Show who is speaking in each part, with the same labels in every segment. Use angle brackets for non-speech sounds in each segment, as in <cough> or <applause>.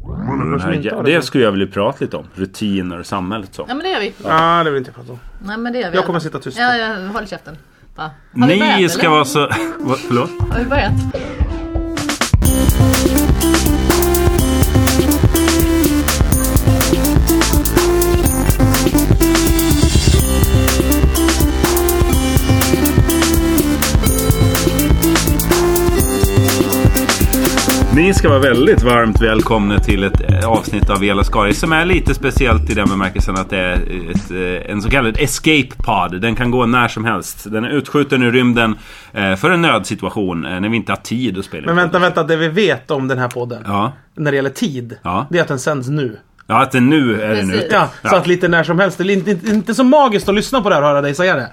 Speaker 1: och
Speaker 2: människor
Speaker 1: Mm, den
Speaker 2: som
Speaker 1: här,
Speaker 2: inte har
Speaker 1: jä-
Speaker 2: det.
Speaker 1: det skulle jag vilja prata lite om. Rutiner och samhället. Så.
Speaker 3: Ja men det gör vi.
Speaker 2: Ja, det vill inte jag prata om.
Speaker 3: Nej men det gör vi.
Speaker 2: Jag kommer sitta tyst.
Speaker 3: Ja, ja, håll käften. Va? Har vi
Speaker 1: Ni
Speaker 3: börjat,
Speaker 1: ska
Speaker 3: eller?
Speaker 2: <laughs>
Speaker 1: vara så... Vad- Förlåt?
Speaker 3: Har vi börjat?
Speaker 1: Ni ska vara väldigt varmt välkomna till ett eh, avsnitt av Vela Skaris som är lite speciellt i den bemärkelsen att det är ett, eh, en så kallad escape pod. Den kan gå när som helst. Den är utskjuten ur rymden eh, för en nödsituation eh, när vi inte har tid att spela in.
Speaker 2: Men vänta, vänta. Det vi vet om den här podden.
Speaker 1: Ja.
Speaker 2: När det gäller tid.
Speaker 1: Ja.
Speaker 2: Det är att den sänds nu.
Speaker 1: ja, att det nu är den
Speaker 3: Precis.
Speaker 1: ute.
Speaker 2: Ja, så
Speaker 1: Ja.
Speaker 2: att lite när som helst. Det är inte, inte, inte så magiskt att lyssna på det här och höra dig säga det.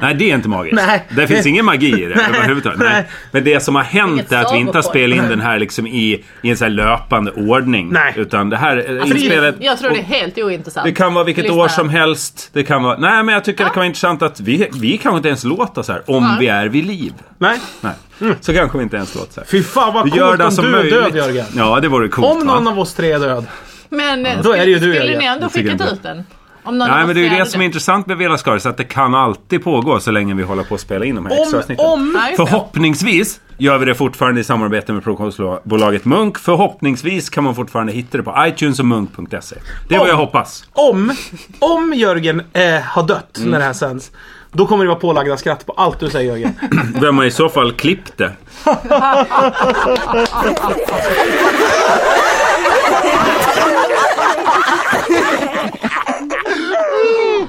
Speaker 1: Nej, det är inte magiskt.
Speaker 2: Nej.
Speaker 1: Det finns ingen magi i det
Speaker 2: <laughs> Nej.
Speaker 1: överhuvudtaget. Nej.
Speaker 2: Nej.
Speaker 1: Men det som har hänt
Speaker 3: Vilket
Speaker 1: är att vi inte har
Speaker 3: sagopod.
Speaker 1: spelat in den här liksom i, i en så här löpande ordning.
Speaker 2: Nej.
Speaker 1: Utan det här eh,
Speaker 3: Alltså,
Speaker 1: inspelet...
Speaker 3: Jag tror det är helt ointressant.
Speaker 1: Det kan vara vilket
Speaker 3: Lyssna.
Speaker 1: år som helst. Det kan vara... Nej, men jag tycker det kan vara intressant att vi, vi kanske inte ens låter så här. Om
Speaker 3: Nej.
Speaker 1: vi är vid liv.
Speaker 2: Nej.
Speaker 1: Nej. Så kanske vi inte ens låter så här.
Speaker 2: Fy fan Mm. vad
Speaker 1: Vi
Speaker 2: coolt
Speaker 1: gör
Speaker 2: om
Speaker 1: det som
Speaker 2: du
Speaker 1: möjligt.
Speaker 2: är död Jörgen.
Speaker 1: Ja, det vore coolt.
Speaker 2: Om någon
Speaker 1: va?
Speaker 2: av oss tre är död.
Speaker 3: Men eh,
Speaker 2: Då är det ju du,
Speaker 3: skulle
Speaker 2: Jörgen.
Speaker 3: ni ändå
Speaker 1: Jag tycker
Speaker 3: skickat
Speaker 1: inte.
Speaker 3: ut den? Om någon av
Speaker 1: Nej,
Speaker 3: oss
Speaker 1: men det är ju
Speaker 3: hade
Speaker 1: det som är intressant med Vela Skaris. Att det kan alltid pågå så länge vi håller på att spela in de här
Speaker 2: Om,
Speaker 1: extraavsnitten.
Speaker 2: om...
Speaker 3: Ja, just det.
Speaker 1: Förhoppningsvis gör vi det fortfarande i samarbete med produktionsbolaget Munk. Förhoppningsvis kan man fortfarande hitta det på iTunes och munk.se. Det är vad jag hoppas.
Speaker 2: Om, om Jörgen eh, har dött
Speaker 1: Mm.
Speaker 2: när det här sänds. Då kommer det vara pålagda skratt på allt du säger
Speaker 1: <laughs>
Speaker 2: Jörgen.
Speaker 1: Vem har i så fall klippt det? Eh,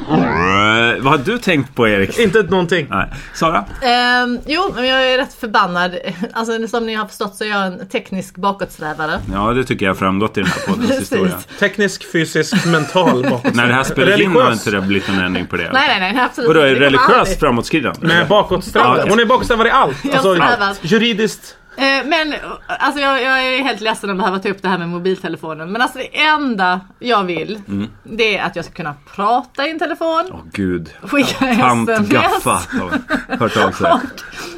Speaker 1: Eh, Vad har du tänkt på Erik?
Speaker 2: inte någonting.
Speaker 1: Nej. Sara?
Speaker 3: Ehm, jo, men jag är rätt förbannad. <laughs> Alltså som ni har förstått så är jag en teknisk bakåtsträvare.
Speaker 1: Ja, det tycker jag har framgått i den
Speaker 3: <laughs>
Speaker 1: här poddens historia.
Speaker 2: Teknisk, fysisk, mental bakåt.
Speaker 1: När det här spelas in
Speaker 2: Religiös.
Speaker 1: har inte det blivit någon ändring på det.
Speaker 3: Nej, nej, nej. nej, Absolut
Speaker 1: Vadå,
Speaker 3: inte.
Speaker 1: är
Speaker 3: Det
Speaker 1: det
Speaker 3: kommer aldrig.
Speaker 1: religiöst framåtskridande?
Speaker 2: Nej,
Speaker 1: Ja,
Speaker 2: bakåtsträvare.
Speaker 1: okej.
Speaker 2: Hon är bakåtsträvare i allt. Alltså,
Speaker 3: strävar.
Speaker 2: juridiskt.
Speaker 3: Eh, Men alltså jag, jag är helt ledsen att behöva ta upp det här med mobiltelefonen. Men alltså det enda jag vill
Speaker 1: Mm.
Speaker 3: det är att jag ska kunna prata i en telefon,
Speaker 1: Åh gud.
Speaker 3: skicka
Speaker 1: Tant
Speaker 3: sms
Speaker 1: Gaffa har hört av sig.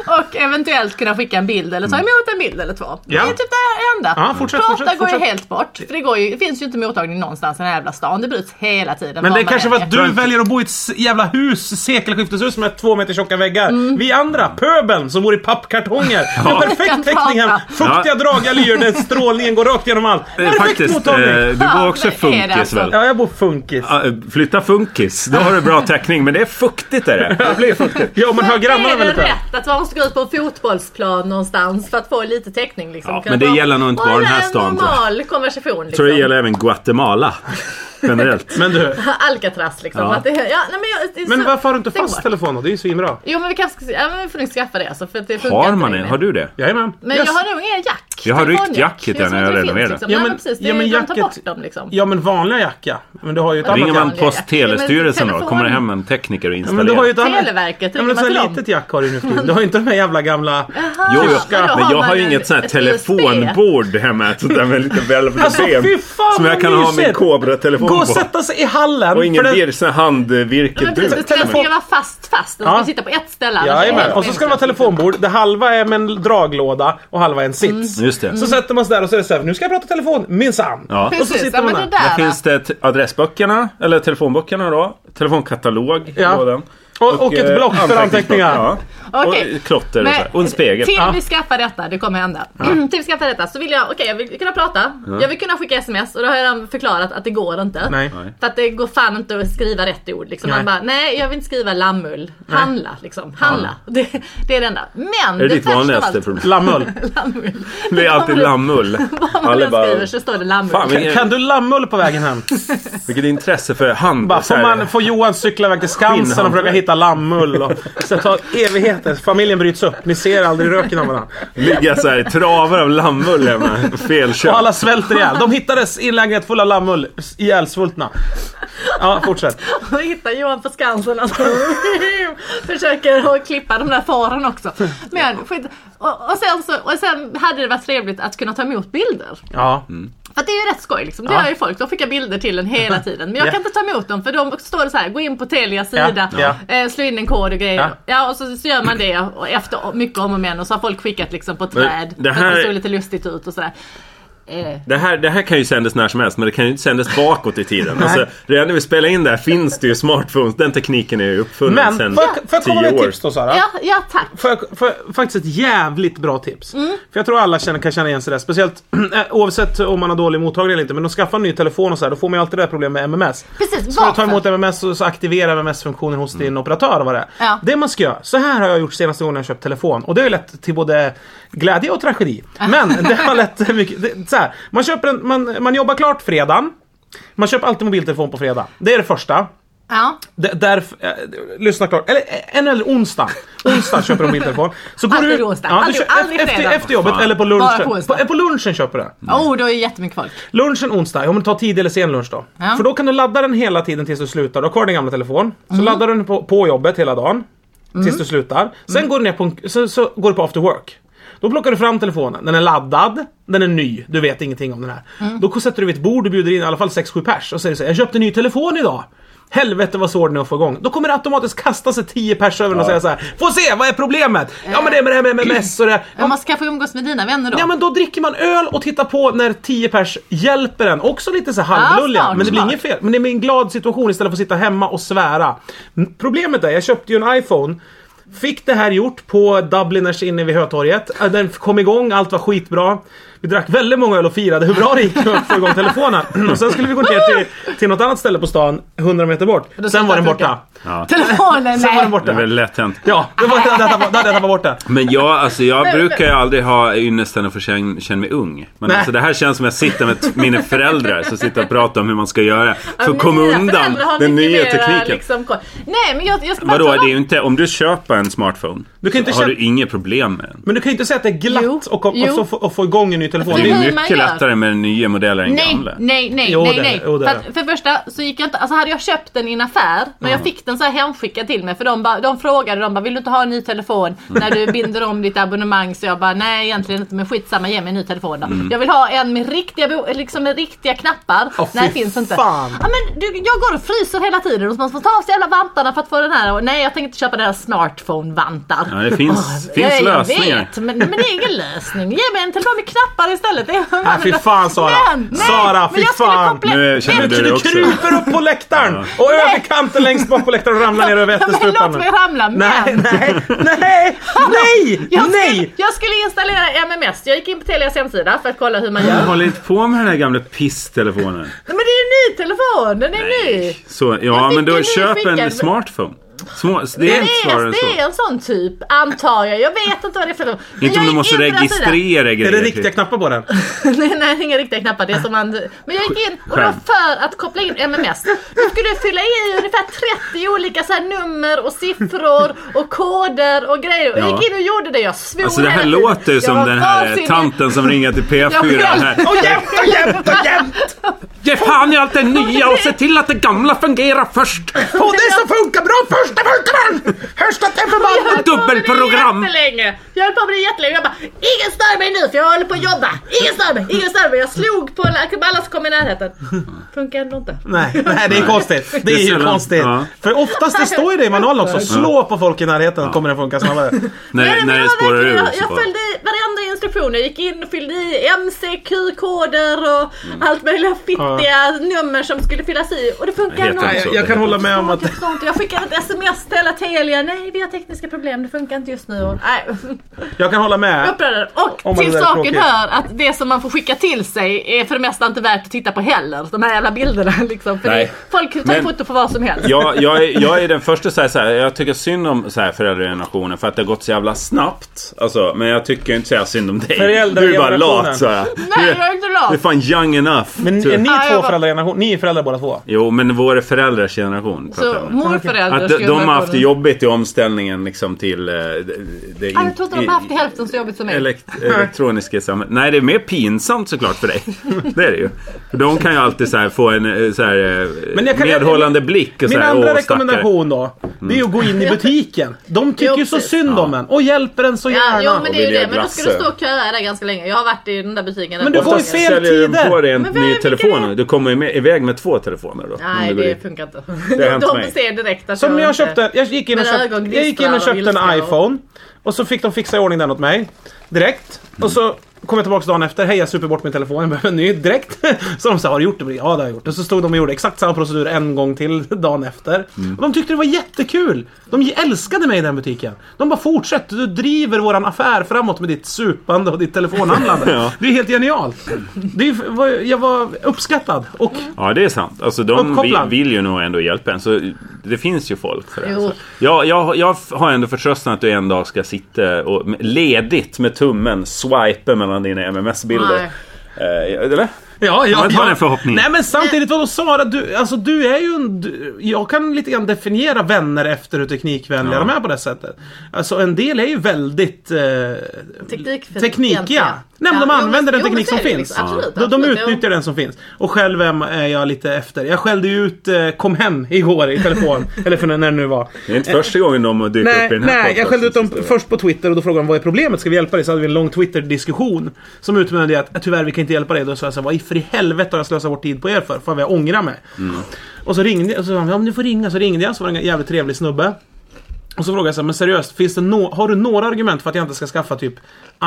Speaker 3: och eventuellt kunna skicka en bild eller ta
Speaker 1: Mm.
Speaker 3: emot en bild eller två.
Speaker 2: Ja.
Speaker 3: Det är typ det enda.
Speaker 2: Ja, fortsätt,
Speaker 3: prata
Speaker 2: fortsätt,
Speaker 3: går ju
Speaker 2: fortsätt.
Speaker 3: helt bort. För det, går ju, det finns ju inte mottagning någonstans i den här jävla stan. Det bryts hela tiden.
Speaker 2: Men
Speaker 3: var
Speaker 2: det
Speaker 3: man
Speaker 2: kanske var
Speaker 3: än är.
Speaker 2: att du väljer att bo i ett s- jävla hus, sekelskifteshus med två meter tjocka väggar.
Speaker 3: Mm.
Speaker 2: Vi andra, pöbeln som bor i pappkartonger. Med
Speaker 3: Kan
Speaker 2: perfekt täckning hem,
Speaker 3: prata.
Speaker 2: fuktiga
Speaker 1: Ja.
Speaker 2: dragljallyor där strålningen går rakt genom allt.
Speaker 1: Eh,
Speaker 2: Perfekt
Speaker 1: Faktiskt, eh,
Speaker 2: mottagning.
Speaker 1: du bor
Speaker 3: Fan,
Speaker 1: också
Speaker 3: det är det
Speaker 1: funkis
Speaker 3: alltså.
Speaker 1: väl?
Speaker 2: Ja, jag bor funkis.
Speaker 1: Ja, eh, Flytta funkis, då har du bra täckning. Men det är fuktigt är det. Det blir fuktigt.
Speaker 2: Ja, men hör grannarna
Speaker 3: är det
Speaker 2: väl lite?
Speaker 3: rätt att man måste gå ut på en fotbollsplan någonstans för att få lite täckning? Liksom.
Speaker 1: Ja,
Speaker 3: Kunna
Speaker 1: men det
Speaker 3: bara
Speaker 1: gäller nog inte bara den här
Speaker 3: hålla en
Speaker 1: stan, tror jag.
Speaker 3: normal konversation. Liksom.
Speaker 1: Jag tror det gäller även Guatemala. Generellt.
Speaker 2: Men du,
Speaker 3: <laughs> Alcatraz liksom.
Speaker 1: Ja.
Speaker 3: Att det, ja, nej, men jag, det är
Speaker 2: men
Speaker 3: så-
Speaker 2: varför har du inte
Speaker 3: det går.
Speaker 2: fast telefon då? Det är ju svinbra.
Speaker 3: Jo men vi kanske ska, ja, men vi får nog skaffa det alltså. För att det funkar
Speaker 1: Har
Speaker 3: inte
Speaker 1: man
Speaker 3: där
Speaker 1: det?
Speaker 3: inne.
Speaker 1: Har du det?
Speaker 2: Jajamän.
Speaker 3: Men
Speaker 2: Yes.
Speaker 3: jag har nog ingen jack.
Speaker 1: Jag har ryckt
Speaker 3: Telefonjack.
Speaker 1: jack hit
Speaker 3: Det är
Speaker 1: där när
Speaker 3: som
Speaker 1: jag
Speaker 3: att det
Speaker 1: renoverade.
Speaker 3: Finns, liksom.
Speaker 2: Ja,
Speaker 3: Nej,
Speaker 2: men-
Speaker 3: men precis. Det
Speaker 2: ja, men
Speaker 3: är, de tar
Speaker 2: jacket-
Speaker 3: bort dem liksom.
Speaker 2: Ja men vanliga jacka. Men du har ju ett annat
Speaker 1: Ringer
Speaker 2: jack.
Speaker 1: man Post Telestyrelsen då? Kommer det hem en tekniker och
Speaker 2: Ja, men du har ju
Speaker 1: installerar?
Speaker 2: ett annat...
Speaker 3: Televerket,
Speaker 2: Ja,
Speaker 3: ringer
Speaker 2: men ett
Speaker 3: man
Speaker 2: sånt
Speaker 3: till
Speaker 2: här
Speaker 3: dem?
Speaker 2: litet jack har du nu för tiden. Du har ju inte de här jävla gamla...
Speaker 1: Jo, jo.
Speaker 2: Tyska.
Speaker 3: men då
Speaker 1: Men jag
Speaker 3: man
Speaker 1: har ju
Speaker 3: en-
Speaker 1: inget sånt här
Speaker 3: ett
Speaker 1: telefonbord hemma. Ett sånt där med lite välvda
Speaker 2: Alltså, fy
Speaker 1: ben.
Speaker 2: fan,
Speaker 1: Som jag
Speaker 2: vad
Speaker 1: kan ha min
Speaker 2: mysigt.
Speaker 1: Cobra-telefon
Speaker 2: Gå och
Speaker 1: på.
Speaker 2: sätta sig i hallen.
Speaker 1: Och ingen
Speaker 2: för det-
Speaker 1: vir- sån här
Speaker 3: Men
Speaker 1: handvirkeduk.
Speaker 3: precis, det ska
Speaker 2: Telefon.
Speaker 3: vara fast fast. Den
Speaker 2: Ja.
Speaker 3: ska sitta på ett ställe. annars är det
Speaker 2: Jajamän.
Speaker 3: helt
Speaker 2: Och så ska det vara
Speaker 3: meningslöst.
Speaker 2: telefonbord där halva är med en draglåda och halva är en sits.
Speaker 1: Just det.
Speaker 2: Så sätter man sig där och så är det så här, nu ska jag prata telefon, minsann.
Speaker 1: Ja.
Speaker 2: Och så
Speaker 3: Precis,
Speaker 2: sitter
Speaker 3: ja,
Speaker 2: man
Speaker 3: men
Speaker 2: där.
Speaker 3: det där.
Speaker 1: Där finns det t- adressböckerna, eller telefonböckerna då. Telefonkatalog.
Speaker 2: Ja.
Speaker 1: lådan.
Speaker 2: Och- och ett
Speaker 1: eh,
Speaker 2: block för
Speaker 1: anteckningsblock,
Speaker 2: anteckningar.
Speaker 1: Ja.
Speaker 3: Okej.
Speaker 1: Och klotter och, så här. och en spegel.
Speaker 3: Till
Speaker 2: Ja.
Speaker 3: vi skaffar detta, det kommer hända. <clears throat> Till vi skaffar detta så vill jag, okej jag vill kunna prata. Jag vill kunna skicka sms och då har jag redan förklarat att det går inte.
Speaker 2: Nej.
Speaker 3: För att det går fan inte att skriva rätt ord. Liksom.
Speaker 2: Nej.
Speaker 3: Man bara, nej jag vill inte skriva lammull. Handla liksom. Handla. Det, det är det enda. Men
Speaker 1: Är det
Speaker 3: det
Speaker 1: ditt
Speaker 3: värsta av
Speaker 1: vanligaste
Speaker 3: allt- <laughs>
Speaker 1: problem?
Speaker 2: Lammull.
Speaker 3: Lammull.
Speaker 1: Det är
Speaker 3: <laughs>
Speaker 1: alltid
Speaker 3: kommer-
Speaker 1: lammull.
Speaker 3: Vad man
Speaker 1: Alla
Speaker 3: än skriver
Speaker 1: bara,
Speaker 3: så står det lammull.
Speaker 1: Fan, vilken-
Speaker 2: Kan du lammull på vägen
Speaker 1: <laughs>
Speaker 2: hem?
Speaker 1: vilket intresse för hand.
Speaker 2: Bara,
Speaker 1: så
Speaker 2: får,
Speaker 1: här-
Speaker 2: man, får Johan cykla iväg till Skansen och
Speaker 1: Skinnhandtag.
Speaker 2: försöka hitta lammull? Och, så tar evigheter. Familjen bryts upp. Ni ser aldrig röken av varandra.
Speaker 1: Ligga så här i travar av lammull hemma. Felköp.
Speaker 2: Och alla svälter ihjäl. De hittades i en lägenhet full av lammull. Ihjälsvultna. Ja, fortsätt.
Speaker 3: Och hittar Johan på Skansen och <laughs> försöker att klippa de där faren också. Men skit. Och, och, sen så, och sen hade det varit trevligt att kunna ta emot bilder.
Speaker 2: Ja.
Speaker 1: Mm.
Speaker 3: För att det är ju rätt skoj liksom. Det
Speaker 2: Ja.
Speaker 3: gör ju folk. De skickar bilder till
Speaker 2: <laughs>
Speaker 3: en hela tiden. Men jag
Speaker 2: Ja.
Speaker 3: kan inte ta emot dem för de står det så här. Gå in på Telias
Speaker 2: Ja,
Speaker 3: sida.
Speaker 2: ja.
Speaker 3: Eh, slå in en kod och grejer.
Speaker 2: Ja.
Speaker 3: Ja, och så, så gör man det och efter mycket om och men. Och så har folk skickat liksom på
Speaker 1: Men
Speaker 3: träd.
Speaker 1: det
Speaker 3: För att
Speaker 1: här-
Speaker 3: det såg lite lustigt ut och sådär. Eh,
Speaker 1: Det här, det här kan ju sändas när som helst men det kan ju inte sändas bakåt i tiden. alltså, redan när vi spelar in det här finns det ju smartphones. Den tekniken är ju uppfunnen
Speaker 2: Men
Speaker 1: sedan
Speaker 2: får jag, får jag komma med
Speaker 1: tio
Speaker 2: ett
Speaker 1: år.
Speaker 2: tips då Sara?
Speaker 3: ja, ja, tack.
Speaker 2: Får jag, får jag, faktiskt ett jävligt bra tips. För jag tror alla känner, kan känna igen sig där. Speciellt <clears throat> eh, oavsett om man har dålig mottagning eller inte. Men att skaffa en ny telefon och så här, då får man ju alltid det här problemet med MMS. Ska
Speaker 3: Precis,
Speaker 2: du ta
Speaker 3: varför?
Speaker 2: emot MMS så, så aktivera MMS-funktionen hos din operatör och vad det är.
Speaker 3: Ja.
Speaker 2: Det man ska göra, så här har jag gjort senaste gången jag köpt telefon. Och det har ju lett till både glädje och tragedi. Men det har lett till mycket, det, så här, man, köper en, man, man jobbar klart fredagen. Man köper alltid mobiltelefon på fredag. Det är det första.
Speaker 3: Ja.
Speaker 2: D- därf- eh, lyssna klart. Eller eh, en eller onsdag. Onsdag köper du en mobiltelefon. Så
Speaker 3: Alltid
Speaker 2: ut-
Speaker 3: onsdag.
Speaker 2: Ja, du
Speaker 3: Aldrig-
Speaker 2: kö- ef-
Speaker 3: aldrig fredag.
Speaker 2: efter, efter jobbet
Speaker 1: Fan.
Speaker 2: eller på
Speaker 3: Bara
Speaker 2: lunchen.
Speaker 3: på
Speaker 2: På,
Speaker 3: onsdag.
Speaker 2: eh, på lunchen köper du det.
Speaker 3: Oh, då är det jättemycket folk.
Speaker 2: Lunchen onsdag, ja men ta tidig eller sen lunch då.
Speaker 3: Ja.
Speaker 2: För då kan du ladda den hela tiden tills du slutar. Du har kvar din gamla telefon. Så laddar du den på, på jobbet hela dagen. Tills du slutar. Sen går du ner på, en, så, så går du på after work. Då plockar du fram telefonen, den är laddad, den är ny, du vet ingenting om den här. Då sätter du vid ett bord, du bjuder in i alla fall 6-7 pers och säger så här, jag köpte en ny telefon idag. Helvete vad svår den är att få igång. Då kommer det automatiskt kasta sig 10 pers över den och säga så här, få se vad är problemet? Ja men det är med det här med MMS och det här."
Speaker 3: Men man ska få umgås med dina vänner då.
Speaker 2: Ja men då dricker man öl och tittar på när 10 pers hjälper en. Också lite så här halvlulliga.
Speaker 3: Ja, smart,
Speaker 2: men det blir
Speaker 3: smart.
Speaker 2: inget fel. Men det blir en glad situation istället för att sitta hemma och svära. Mm, Problemet är, jag köpte ju en iPhone. Fick det här gjort på Dubliners inne vid Hötorget. Eh, Den kom igång, allt var skitbra. Vi drack väldigt många öl och firade hur bra det gick att få igång telefonen. Och sen skulle vi gå ner till, till något annat ställe på stan, 100 meter bort. Sen
Speaker 3: då slutade
Speaker 2: var den
Speaker 3: det
Speaker 2: borta.
Speaker 1: Ja,
Speaker 3: Telefonen,
Speaker 2: Sen var den
Speaker 3: nej.
Speaker 1: det är
Speaker 2: borta.
Speaker 1: väl lätt hänt.
Speaker 2: Ja, det var, det, det, det, det, det var borta.
Speaker 1: Men jag, alltså, jag
Speaker 3: <laughs> Men-
Speaker 1: brukar ju aldrig ha ynnesten att få känna, känna mig ung. Men
Speaker 2: Nej.
Speaker 1: alltså, det här känns som att jag sitter med
Speaker 3: <laughs>
Speaker 1: t- mina föräldrar som sitter och pratar om hur man ska göra för att
Speaker 3: Mina
Speaker 1: komma undan
Speaker 3: föräldrar har
Speaker 1: den
Speaker 3: mycket
Speaker 1: nya
Speaker 3: mera,
Speaker 1: tekniken.
Speaker 3: liksom, Alltså, koll. Nej, men jag, jag ska bara
Speaker 1: Vadå,
Speaker 3: tala
Speaker 1: det är
Speaker 3: om...
Speaker 1: ju inte, om du köper en smartphone
Speaker 2: Du kan inte
Speaker 1: så har
Speaker 2: köpa-
Speaker 1: du inga problem med den.
Speaker 2: Men du kan ju inte säga att det är
Speaker 3: Jo,
Speaker 2: glatt och, och,
Speaker 3: jo.
Speaker 2: och, få, och få igång en ny telefon.
Speaker 3: Men
Speaker 1: Det
Speaker 3: hur
Speaker 1: är
Speaker 3: man
Speaker 1: mycket
Speaker 3: gör?
Speaker 1: lättare med den nya modellen än
Speaker 3: Nej,
Speaker 1: gamla.
Speaker 3: nej, nej,
Speaker 2: Jo,
Speaker 3: nej,
Speaker 2: det är
Speaker 3: nej.
Speaker 2: det. Jo, det
Speaker 3: för,
Speaker 2: är
Speaker 3: att, för det första så gick jag inte, alltså hade jag köpt den i en affär, när jag fick den så här hemskickad till mig, för de, bara- de frågade, de bara vill du inte ha en ny telefon
Speaker 2: Mm.
Speaker 3: när du binder om ditt abonnemang? Så jag bara nej egentligen inte, men skitsamma ge mig en ny telefon då. Jag vill ha en med riktiga, bo- liksom med riktiga knappar.
Speaker 2: Mm. Åh,
Speaker 3: nej det
Speaker 2: fy
Speaker 3: finns inte.
Speaker 2: fan.
Speaker 3: Ja, men du, jag går och fryser hela tiden och man får ta av sig alla vantarna för att få den här. Och, nej jag tänker inte köpa den här smartphone-vantar.
Speaker 1: Ja, det finns,
Speaker 3: Ja,
Speaker 1: finns
Speaker 3: Alltså, Jag
Speaker 1: lösningar.
Speaker 3: vet, men, men det är ingen lösning. Ge mig en telefon med knappar istället. Det är-
Speaker 2: Ah, fy fan, Sara.
Speaker 3: Men,
Speaker 2: Sara,
Speaker 3: men
Speaker 2: fy
Speaker 3: jag skulle
Speaker 2: fan.
Speaker 3: komplett-
Speaker 1: Nu känner
Speaker 3: Nej,
Speaker 1: du
Speaker 3: men-
Speaker 1: dig
Speaker 2: Du
Speaker 1: också.
Speaker 2: kryper upp på läktaren och över kanten längst bak på läktaren och ramlar ner över
Speaker 3: Men
Speaker 2: ättestupan.
Speaker 3: låt mig ramla, men-
Speaker 2: Nej, nej,
Speaker 3: <laughs>
Speaker 2: nej, nej,
Speaker 3: Jag skulle,
Speaker 2: nej!
Speaker 3: jag skulle installera MMS. Jag gick in på Telias hemsida för att kolla hur man
Speaker 1: Jag
Speaker 3: gör.
Speaker 1: håller inte på med den här gamla pisstelefonen.
Speaker 3: Men det är ju en ny telefon! Den är ny!
Speaker 1: Så,
Speaker 3: Jag
Speaker 1: ja, men
Speaker 3: fick en
Speaker 1: då
Speaker 3: ny
Speaker 1: köp
Speaker 3: ficka.
Speaker 1: en smartphone. Små, det
Speaker 3: Det
Speaker 1: är inte
Speaker 3: är,
Speaker 1: svårare än
Speaker 3: det
Speaker 1: så.
Speaker 3: är en sån typ, antar jag. Jag vet inte vad det är för något. Men
Speaker 1: Inte om du
Speaker 3: jag gick
Speaker 1: typ måste
Speaker 3: in på den här sidan.
Speaker 1: registrera grejer. typ.
Speaker 2: Är det riktiga knappar på den?
Speaker 3: <laughs> nej, nej, det är inga riktiga knappar. Det är som man... Men jag gick in och då
Speaker 1: Skärm.
Speaker 3: för att koppla in MMS. Då skulle jag fylla i ungefär 30 olika så här nummer och siffror och koder och grejer. Och jag
Speaker 1: Ja.
Speaker 3: gick in och gjorde det. Jag svor
Speaker 1: Alltså det här
Speaker 3: hela tiden.
Speaker 1: låter ju
Speaker 3: Jag
Speaker 1: som
Speaker 3: var
Speaker 1: den här
Speaker 3: vansinnig.
Speaker 1: tanten som ringer till P4
Speaker 3: Jag vet.
Speaker 1: här.
Speaker 2: Och jämt och jämt och
Speaker 3: <laughs>
Speaker 2: jämt!
Speaker 1: Ge fan i allt det nya och se till att det gamla fungerar först!
Speaker 2: Och det som funkar bra först, det funkar den! Hörs att det är
Speaker 3: Jag höll
Speaker 2: förbannat!
Speaker 3: på med det
Speaker 1: Dubbelprogram.
Speaker 3: jättelänge. Jag höll på med det jättelänge. Jag bara, ingen stör mig nu för jag håller på att jobba. Ingen stör mig, ingen stör mig. Jag slog på alla- alla som kom i närheten. Funkar ändå inte.
Speaker 2: Nej, nej, det är konstigt. Det är ju
Speaker 1: sällan.
Speaker 2: konstigt.
Speaker 1: Ja.
Speaker 2: För oftast det står ju det i manualen också. Slå på folk i närheten så kommer det funka snabbare.
Speaker 3: Nej,
Speaker 1: När,
Speaker 3: men
Speaker 1: när
Speaker 3: jag
Speaker 1: det
Speaker 3: var
Speaker 1: spårar
Speaker 3: verkligen-
Speaker 1: ur
Speaker 3: Jag,
Speaker 1: så
Speaker 3: jag
Speaker 1: bara.
Speaker 3: följde i varenda instruktion. Jag gick in och fyllde i MCQ-koder och
Speaker 1: Mm.
Speaker 3: allt möjliga fittiga nummer som skulle fyllas i. Och det funkar
Speaker 1: heter
Speaker 3: ändå
Speaker 1: det
Speaker 3: inte.
Speaker 1: så?
Speaker 2: Jag, jag kan hålla med om att
Speaker 3: Jag förstår inte. Jag skickade ett sms till hela Telia. Nej, vi har tekniska problem. Det funkar inte just nu. Och, nej.
Speaker 2: jag kan hålla med.
Speaker 3: Upprörande.
Speaker 2: Om man
Speaker 3: Och till
Speaker 2: är väldigt
Speaker 3: saken
Speaker 2: tråkig.
Speaker 3: hör att det som man får skicka till sig är för det mesta inte värt att titta på heller. De här jävla bilderna <laughs> liksom. För
Speaker 1: Nej.
Speaker 3: det, folk tar ju
Speaker 1: Men-
Speaker 3: foto på vad som helst.
Speaker 1: jag, jag, är, jag är den första så här, så här, jag tycker synd om så här föräldragenerationen för att det har gått så jävla snabbt. Alltså, men jag tycker inte så här synd om dig. Du är bara
Speaker 2: Föräldragenerationen.
Speaker 1: lat så här.
Speaker 3: Nej, jag är inte
Speaker 1: Du är
Speaker 3: lat.
Speaker 1: fan young enough.
Speaker 2: Men
Speaker 1: to-
Speaker 2: är ni
Speaker 3: Ja, jag
Speaker 2: två
Speaker 3: var-
Speaker 2: föräldrageneration? Ni är föräldrar båda två?
Speaker 1: Jo, men vår föräldrars generation. pratar jag
Speaker 3: Så
Speaker 1: om.
Speaker 3: morföräldrar
Speaker 1: Att
Speaker 3: Alltså, skulle
Speaker 1: de, de har
Speaker 3: vara
Speaker 1: haft det
Speaker 3: på-
Speaker 1: jobbigt i omställningen liksom till eh, det, det
Speaker 3: Ja, Jag tror inte de har haft det hälften så jobbigt som mig.
Speaker 1: elekt- elektroniska samhället. Nej, det är mer pinsamt såklart för dig. Det är det ju. För de kan ju alltid så här få en eh, så här,
Speaker 2: Men
Speaker 1: men
Speaker 2: jag kan-
Speaker 1: medhållande blick. Och
Speaker 2: Min
Speaker 1: så här,
Speaker 2: andra
Speaker 1: "Åh, stackare."
Speaker 2: rekommendation då, det är att gå in i butiken. De tycker ju så
Speaker 3: Mm. precis.
Speaker 2: synd om en och hjälper en så
Speaker 3: Ja,
Speaker 2: gärna.
Speaker 3: jo men det är ju
Speaker 1: Och
Speaker 3: det. Men då ska du
Speaker 1: miljöglass.
Speaker 3: stå och köa där ganska länge. Jag har varit i den där butiken.
Speaker 2: Men du får ju
Speaker 1: Oftast
Speaker 2: fel
Speaker 1: säljer de
Speaker 2: tider.
Speaker 1: på dig en
Speaker 3: Men vad-
Speaker 1: ny
Speaker 3: vilka är
Speaker 1: telefon.
Speaker 3: det?
Speaker 1: Du kommer ju med, iväg med två telefoner då. om
Speaker 3: Nej
Speaker 1: du går
Speaker 3: det
Speaker 1: dit.
Speaker 3: funkar inte.
Speaker 1: har hänt
Speaker 3: De
Speaker 1: mig.
Speaker 3: ser direkt att
Speaker 2: Som Alltså, jag
Speaker 3: inte-
Speaker 2: köpte, jag gick in och
Speaker 3: Mina
Speaker 2: köpte,
Speaker 3: ögon
Speaker 2: jag gick in och
Speaker 3: gnistrar av
Speaker 2: köpte en
Speaker 3: ilska och-
Speaker 2: iPhone. Och så fick de fixa i ordning den åt mig. Direkt. Och så kom jag tillbaka dagen efter. Hej, jag super bort min telefon. Jag behöver en ny direkt. <laughs> Så de sa, har du gjort det? Ja, det har jag gjort. Och så stod de och gjorde exakt samma procedur en gång till <laughs> dagen efter. Och de tyckte det var jättekul. De älskade mig i den butiken. De bara, fortsätt. Du driver våran affär framåt med ditt supande och ditt telefonhandlande.
Speaker 1: Ja.
Speaker 2: Det är helt genialt. Det är- var- jag var uppskattad. Och
Speaker 1: Ja, det är sant. Alltså, de vi-
Speaker 2: Uppkopplad.
Speaker 1: vill ju nog ändå hjälpa en. Så det finns ju folk för det.
Speaker 3: Jo.
Speaker 1: Så. Jag, jag, jag har ändå förtröstan att du en dag ska sitta och ledigt med tummen swipa mellan dina MMS-bilder. Eh, eller?
Speaker 2: Ja, ja,
Speaker 1: men ta den förhoppningen.
Speaker 2: Nej men samtidigt, vadå Sara? Du, alltså, du är ju en, du, Jag kan lite grann definiera vänner efter hur teknikvänliga
Speaker 1: Ja.
Speaker 2: de är på det sättet. Alltså en del är ju väldigt... Eh,
Speaker 3: Teknikfientliga.
Speaker 2: teknikiga. Nej men de
Speaker 3: Ja, jo,
Speaker 2: använder den
Speaker 3: men- jo, men
Speaker 2: teknik
Speaker 3: så
Speaker 2: som
Speaker 3: är det ju
Speaker 2: finns.
Speaker 3: liksom. Absolut,
Speaker 2: de, de
Speaker 3: absolut, jo.
Speaker 2: utnyttjar den som finns. Och själv är är jag lite efter. Jag skällde ju ut eh, Kom Hem igår i telefon. eller för när det nu var.
Speaker 1: Det är inte första gången de dyker upp i
Speaker 2: Nej,
Speaker 1: den här
Speaker 2: nej jag
Speaker 1: podcasten.
Speaker 2: skällde ut dem först på Twitter och då frågade de vad är problemet? Ska vi hjälpa dig? Så hade vi en lång Twitter-diskussion som utmynnade i att tyvärr vi kan inte hjälpa dig. Då sa jag så här, vad i för i helvete har jag slösat vår tid på er för? Fan vad jag ångrar mig.
Speaker 1: Mm.
Speaker 2: Och så ringde jag och så sa de, ja men du får ringa. Så ringde jag så var det en jävligt trevlig snubbe. Och så frågade jag så här, men seriöst, finns det nå- har du några argument för att jag inte ska skaffa typ